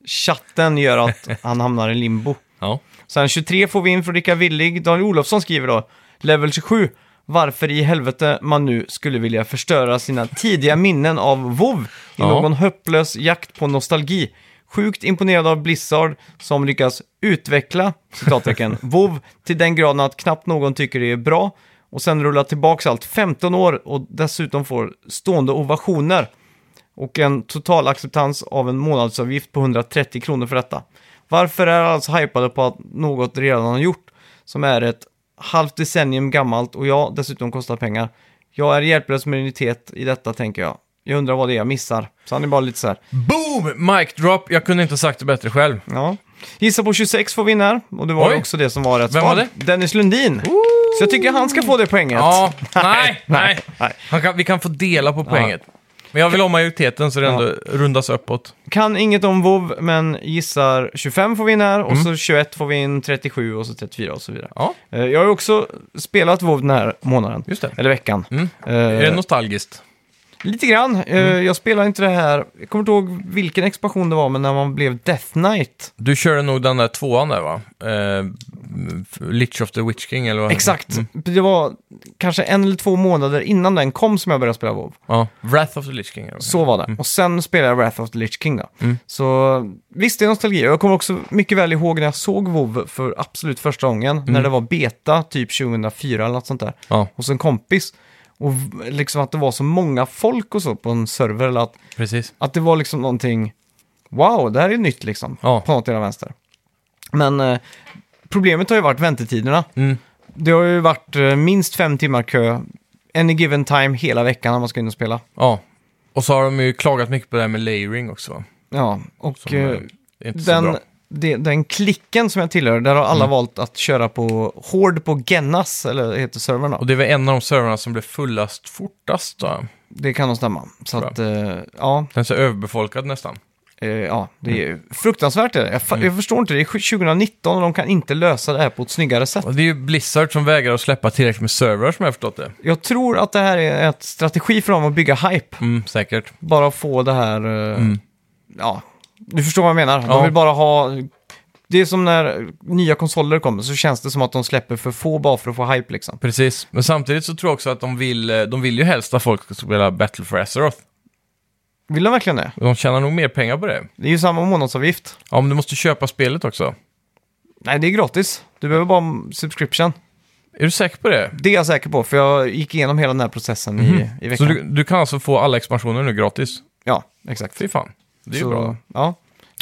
[SPEAKER 1] chatten gör att han hamnar i limbo.
[SPEAKER 2] Ja.
[SPEAKER 1] Sen 23 får vi in från Rickard Willig. Daniel Olofsson skriver då, level 27. Varför i helvete man nu skulle vilja förstöra sina tidiga minnen av WoW i
[SPEAKER 2] Ja.
[SPEAKER 1] någon hopplös jakt på nostalgi. Sjukt imponerad av Blizzard som lyckas utveckla, citattecken, WoW till den graden att knappt någon tycker det är bra och sen rulla tillbaks allt 15 år och dessutom får stående ovationer och en total acceptans av en månadsavgift på 130 kronor för detta. Varför är alla så hypade på att något redan har gjort som är ett halvt decennium gammalt och jag dessutom kostar pengar? Jag är hjälplös med identitet i detta tänker jag. Jag undrar vad det är jag missar. Så han är bara lite så här,
[SPEAKER 2] Boom! Mic drop! Jag kunde inte ha sagt det bättre själv.
[SPEAKER 1] ja. Gissa på 26 får vi in här och det var
[SPEAKER 2] Oj.
[SPEAKER 1] ju också det som var rätt
[SPEAKER 2] Vem
[SPEAKER 1] svar.
[SPEAKER 2] var det?
[SPEAKER 1] Dennis Lundin. Så jag tycker han ska få det poänget.
[SPEAKER 2] Ja, nej, nej.
[SPEAKER 1] nej.
[SPEAKER 2] Han kan, vi kan få dela på poänget. Men jag vill ha majoriteten så det ändå rundas uppåt.
[SPEAKER 1] Kan inget om WoW men gissar 25 får vi in här
[SPEAKER 2] Mm.
[SPEAKER 1] och så 21 får vi in 37 och så 34 och så vidare.
[SPEAKER 2] Ja,
[SPEAKER 1] Eh, Jag har ju också spelat WoW den här månaden.
[SPEAKER 2] just det. Mm.
[SPEAKER 1] Eller veckan. Eh,
[SPEAKER 2] Är det Mm. nostalgiskt?
[SPEAKER 1] Lite grann. Eh, Jag spelar inte det här. Jag kommer inte ihåg vilken expansion det var, men när man blev Death Knight.
[SPEAKER 2] Du körde nog den där tvåan där va? Eh, Lich of the Witch King eller vad?
[SPEAKER 1] Exakt.
[SPEAKER 2] Mm.
[SPEAKER 1] Det var kanske en eller två månader innan den kom som jag började spela WoW.
[SPEAKER 2] Ja, Wrath of the Lich King. eller vad?
[SPEAKER 1] Så var det.
[SPEAKER 2] Mm.
[SPEAKER 1] Och sen spelade jag Wrath of the Lich King då. Så visst, det är nostalgi. Och Jag kommer också mycket väl ihåg när jag såg WoW för absolut första gången.
[SPEAKER 2] Mm.
[SPEAKER 1] När det var beta, typ 2004 eller något sånt där.
[SPEAKER 2] Ja,
[SPEAKER 1] Hos en kompis. Och v- liksom att det var så många folk och så på en server. Eller att
[SPEAKER 2] precis.
[SPEAKER 1] Att det var liksom någonting, wow, det här är nytt liksom,
[SPEAKER 2] Ja.
[SPEAKER 1] på något jävla vänster. Men eh, problemet har ju varit väntetiderna.
[SPEAKER 2] Mm.
[SPEAKER 1] Det har ju varit eh, minst fem timmar kö, any given time, hela veckan när man ska in och spela.
[SPEAKER 2] Ja. Och så har de ju klagat mycket på det här med layering också. va?
[SPEAKER 1] Ja, och
[SPEAKER 2] Som, eh,
[SPEAKER 1] eh,
[SPEAKER 2] är inte så
[SPEAKER 1] den,
[SPEAKER 2] bra. Mm.
[SPEAKER 1] det, den klicken som jag tillhör, där har alla valt att köra på hård på Gennas, eller heter servern då.
[SPEAKER 2] Och det var en av de servrarna som blev fullast fortast. Då.
[SPEAKER 1] Det kan nog stämma. Så
[SPEAKER 2] Bra.
[SPEAKER 1] att, eh, ja,
[SPEAKER 2] Den är så överbefolkad nästan.
[SPEAKER 1] eh, ja, det
[SPEAKER 2] Mm.
[SPEAKER 1] är fruktansvärt är det. Jag, fa- jag förstår inte, det är 2019 och de kan inte lösa det här på ett snyggare sätt.
[SPEAKER 2] Och det är ju Blizzard som vägrar att släppa tillräckligt med servrar som jag har förstått det.
[SPEAKER 1] Jag tror att det här är ett strategi för dem att bygga hype.
[SPEAKER 2] Mm, säkert.
[SPEAKER 1] Bara få det här... eh, Ja, du förstår vad jag menar.
[SPEAKER 2] Mm. Ja.
[SPEAKER 1] De vill bara ha... Det är som när nya konsoler kommer så känns det som att de släpper för få bara för att få hype liksom.
[SPEAKER 2] Precis. Men samtidigt så tror jag också att de vill, eh, de vill ju helst att folk ska spela Battle for Azeroth.
[SPEAKER 1] Vill de verkligen det?
[SPEAKER 2] Och De tjänar nog mer pengar på det.
[SPEAKER 1] Det är ju samma månadsavgift.
[SPEAKER 2] Ja, men du måste köpa spelet också.
[SPEAKER 1] Nej, det är gratis. Du behöver bara en subscription.
[SPEAKER 2] Är du säker på det?
[SPEAKER 1] Det är jag säker på, för jag gick igenom hela den här processen i, Mm. i
[SPEAKER 2] Mhm. Så
[SPEAKER 1] veckan.
[SPEAKER 2] du, du kan alltså få alla expansioner nu gratis?
[SPEAKER 1] Ja, exakt.
[SPEAKER 2] Fy fan. Det är
[SPEAKER 1] så,
[SPEAKER 2] ju bra.
[SPEAKER 1] Ja.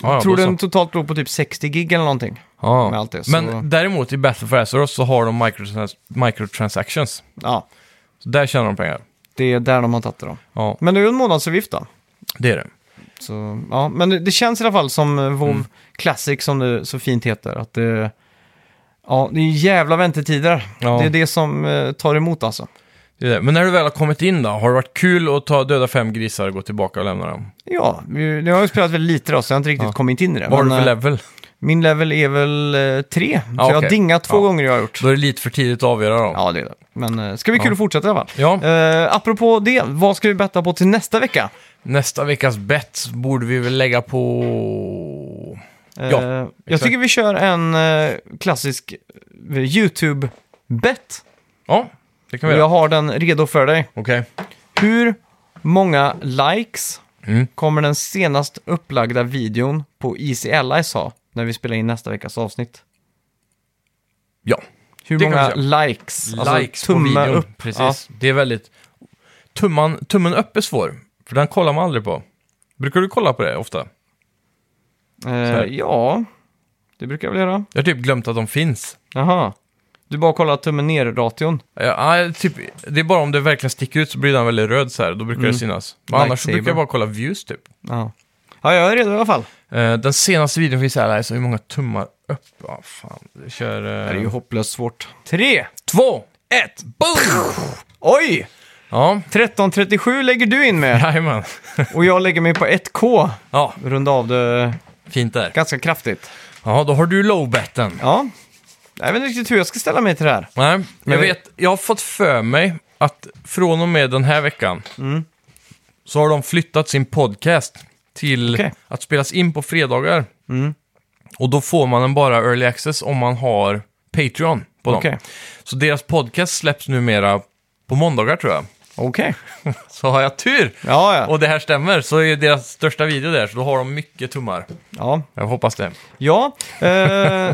[SPEAKER 2] Ja, ja,
[SPEAKER 1] tror
[SPEAKER 2] då
[SPEAKER 1] den
[SPEAKER 2] så.
[SPEAKER 1] totalt låg på typ 60 gig eller någonting.
[SPEAKER 2] Ja.
[SPEAKER 1] med allt det, så-
[SPEAKER 2] Men däremot i Battle for Azeroth så har de microtrans microtransactions.
[SPEAKER 1] Ja,
[SPEAKER 2] Så där tjänar de pengar.
[SPEAKER 1] det är där de har tagit det då.
[SPEAKER 2] Ja,
[SPEAKER 1] Men det är ju en månadsavgift då.
[SPEAKER 2] det är det.
[SPEAKER 1] Så, ja, men det, det känns i alla fall som eh, WoW
[SPEAKER 2] Mm.
[SPEAKER 1] Classic som det så fint heter. Att det, ja, det är jävla väntetider.
[SPEAKER 2] Ja.
[SPEAKER 1] Det är det som eh, tar emot alltså.
[SPEAKER 2] Det är det. Men när du väl har kommit in då, har det varit kul att ta döda fem grisar och gå tillbaka och lämna dem?
[SPEAKER 1] Ja, vi, nu har jag spelat väldigt lite då, så jag har inte riktigt
[SPEAKER 2] Ja.
[SPEAKER 1] kommit in i det.
[SPEAKER 2] Vad har du
[SPEAKER 1] Men,
[SPEAKER 2] för
[SPEAKER 1] eh,
[SPEAKER 2] level?
[SPEAKER 1] Min level är väl eh, tre, så
[SPEAKER 2] Ja,
[SPEAKER 1] jag har
[SPEAKER 2] okej.
[SPEAKER 1] dingat två
[SPEAKER 2] Ja.
[SPEAKER 1] gånger jag har gjort.
[SPEAKER 2] Då är det lite för tidigt att avgöra dem.
[SPEAKER 1] Ja, det är det. Men eh, ska bli kul att fortsätta i alla fall.
[SPEAKER 2] Ja.
[SPEAKER 1] Eh, apropå det, vad ska vi betta på till nästa vecka?
[SPEAKER 2] Nästa veckas bet borde vi väl lägga på...
[SPEAKER 1] Eh,
[SPEAKER 2] Ja,
[SPEAKER 1] jag
[SPEAKER 2] exakt.
[SPEAKER 1] tycker vi kör en eh, klassisk eh, YouTube-bett.
[SPEAKER 2] Ja, det kan vi
[SPEAKER 1] Jag
[SPEAKER 2] göra.
[SPEAKER 1] har den redo för dig.
[SPEAKER 2] Okej.
[SPEAKER 1] Hur många likes
[SPEAKER 2] Mm.
[SPEAKER 1] kommer den senast upplagda videon på Easy Allies ha när vi spelar in nästa veckas avsnitt?
[SPEAKER 2] Ja.
[SPEAKER 1] Hur
[SPEAKER 2] Det kan
[SPEAKER 1] många
[SPEAKER 2] vi
[SPEAKER 1] likes?
[SPEAKER 2] Likes på videon.
[SPEAKER 1] Alltså, upp.
[SPEAKER 2] Precis.
[SPEAKER 1] Ja.
[SPEAKER 2] Det är väldigt... Tumman, tummen upp är svår, för den kollar man aldrig på. Brukar du kolla på det ofta?
[SPEAKER 1] Eh,
[SPEAKER 2] här.
[SPEAKER 1] ja, det brukar jag väl göra.
[SPEAKER 2] Jag har typ glömt att de finns.
[SPEAKER 1] Jaha. Du bara kollar tummen ner-ration.
[SPEAKER 2] Ja, ja, typ, det är bara om det verkligen sticker ut så blir den väldigt röd så här, då brukar det synas. Men annars så
[SPEAKER 1] Lightsaber.
[SPEAKER 2] brukar jag bara kolla views typ.
[SPEAKER 1] Ja. ja, jag är redo i alla fall.
[SPEAKER 2] Eh, den senaste videon finns här, så hur många tummar upp? Ja, fan. Vi kör...
[SPEAKER 1] Det är
[SPEAKER 2] Uh,
[SPEAKER 1] ju hopplöst svårt. Tre,
[SPEAKER 2] två!
[SPEAKER 1] ett, boom! Oj!
[SPEAKER 2] Ja,
[SPEAKER 1] 13.37 lägger du in med
[SPEAKER 2] jajamän.
[SPEAKER 1] och jag lägger mig på 1K.
[SPEAKER 2] Ja,
[SPEAKER 1] Runda av det
[SPEAKER 2] fint där.
[SPEAKER 1] ganska kraftigt.
[SPEAKER 2] Ja, då har du lowbetten.
[SPEAKER 1] Ja. Jag vet inte riktigt hur jag ska ställa mig till det här.
[SPEAKER 2] Nej,
[SPEAKER 1] Men-
[SPEAKER 2] jag vet. Jag har fått för mig att från och med den här veckan så har de flyttat sin podcast till
[SPEAKER 1] Okej.
[SPEAKER 2] att spelas in på fredagar. Och då får man den bara early access om man har Patreon på dem.
[SPEAKER 1] Okej.
[SPEAKER 2] Så deras podcast släpps numera på måndagar tror jag.
[SPEAKER 1] Okej.
[SPEAKER 2] Så har jag tur
[SPEAKER 1] Ja, ja.
[SPEAKER 2] och det här stämmer så är deras största video där, så då har de mycket tummar.
[SPEAKER 1] ja.
[SPEAKER 2] Jag hoppas det.
[SPEAKER 1] Ja, eh,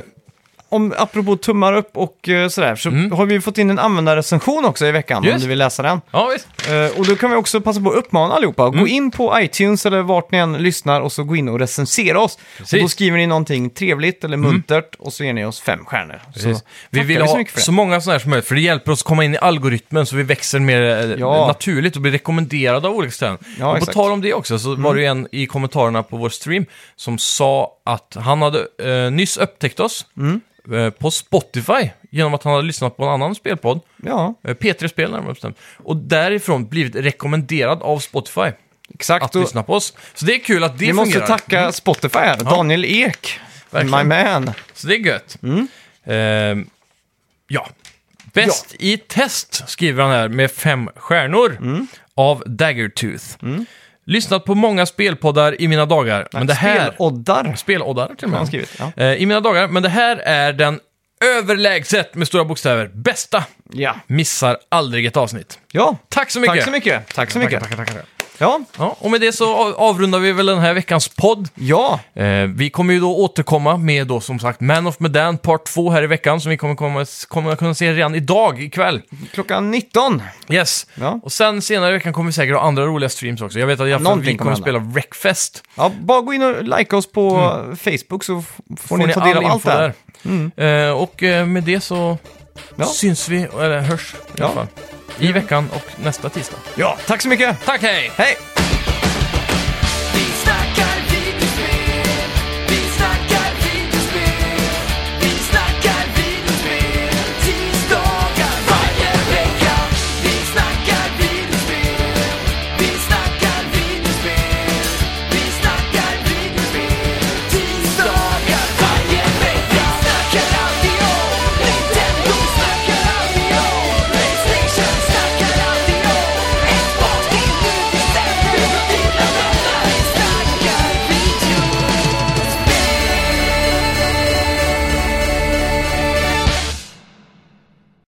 [SPEAKER 1] om, apropå tummar upp och eh, sådär, så har vi fått in en användarrecension också i veckan, om
[SPEAKER 2] Mm. Just.
[SPEAKER 1] du vill läsa den.
[SPEAKER 2] Ja, visst.
[SPEAKER 1] Eh, och då kan vi också passa på att uppmana allihopa,
[SPEAKER 2] Mm.
[SPEAKER 1] gå in på iTunes eller vart ni än lyssnar och så gå in och recensera oss. Och då skriver ni någonting trevligt eller muntert och så ger ni oss fem stjärnor. Så
[SPEAKER 2] Mm. Precis. Vi
[SPEAKER 1] tackar
[SPEAKER 2] vill
[SPEAKER 1] vi så
[SPEAKER 2] ha
[SPEAKER 1] mycket för det.
[SPEAKER 2] så många sådana här som möjligt, för det hjälper oss att komma in i algoritmen så vi växer mer eh,
[SPEAKER 1] Ja.
[SPEAKER 2] naturligt och blir rekommenderade av olika ställen.
[SPEAKER 1] Ja,
[SPEAKER 2] och på
[SPEAKER 1] exakt. Mm.
[SPEAKER 2] tal om det också, så var det ju en i kommentarerna på vår stream som sa att han hade eh, nyss upptäckt oss
[SPEAKER 1] Mm.
[SPEAKER 2] eh, på Spotify genom att han hade lyssnat på en annan spelpodd,
[SPEAKER 1] Ja,
[SPEAKER 2] eh, P3 Spel närmare bestämt, och därifrån blivit rekommenderad av Spotify
[SPEAKER 1] exakt.
[SPEAKER 2] att
[SPEAKER 1] Och
[SPEAKER 2] lyssna på oss. Så det är kul att det
[SPEAKER 1] vi måste
[SPEAKER 2] fungerar. Mm.
[SPEAKER 1] tacka Spotify här, Daniel Ek.
[SPEAKER 2] Verkligen.
[SPEAKER 1] My man.
[SPEAKER 2] Så det är gött.
[SPEAKER 1] Mm.
[SPEAKER 2] Ehm, ja. Bäst i test skriver han här med fem stjärnor
[SPEAKER 1] Mm.
[SPEAKER 2] av Daggertooth. Lyssnat på många spelpoddar i mina dagar, men det här...
[SPEAKER 1] Speloddar.
[SPEAKER 2] Speloddar till och med.
[SPEAKER 1] han skrivit, ja.
[SPEAKER 2] Eh, I mina dagar, men det här är den överlägset med stora bokstäver bästa.
[SPEAKER 1] Ja.
[SPEAKER 2] Missar aldrig ett avsnitt.
[SPEAKER 1] ja.
[SPEAKER 2] Tack så mycket!
[SPEAKER 1] Tack så mycket. Tack så mycket.
[SPEAKER 2] Tackar, tackar, tackar.
[SPEAKER 1] Ja,
[SPEAKER 2] Ja, och med det så av- avrundar vi väl den här veckans podd.
[SPEAKER 1] ja.
[SPEAKER 2] Eh, vi kommer ju då återkomma med då som sagt Man of Medan Part 2 här i veckan som vi kommer, komma, kommer kunna se redan idag ikväll.
[SPEAKER 1] Klockan 19.
[SPEAKER 2] Yes.
[SPEAKER 1] Ja.
[SPEAKER 2] Och sen senare i veckan kommer vi säkert ha andra roliga streams också. Jag vet att jag för
[SPEAKER 1] Någonting
[SPEAKER 2] vi kommer att
[SPEAKER 1] kommer
[SPEAKER 2] spela Wreckfest.
[SPEAKER 1] Ja, bara gå in och like oss på
[SPEAKER 2] Mm.
[SPEAKER 1] Facebook så f- får ni ta del av allt det här.
[SPEAKER 2] Eh, och eh, med det så
[SPEAKER 1] Ja.
[SPEAKER 2] syns vi, eller hörs i
[SPEAKER 1] Ja.
[SPEAKER 2] alla fall. I veckan och nästa tisdag.
[SPEAKER 1] Ja, tack så mycket.
[SPEAKER 2] Tack, hej!
[SPEAKER 1] Hej!
[SPEAKER 3] Vi snackar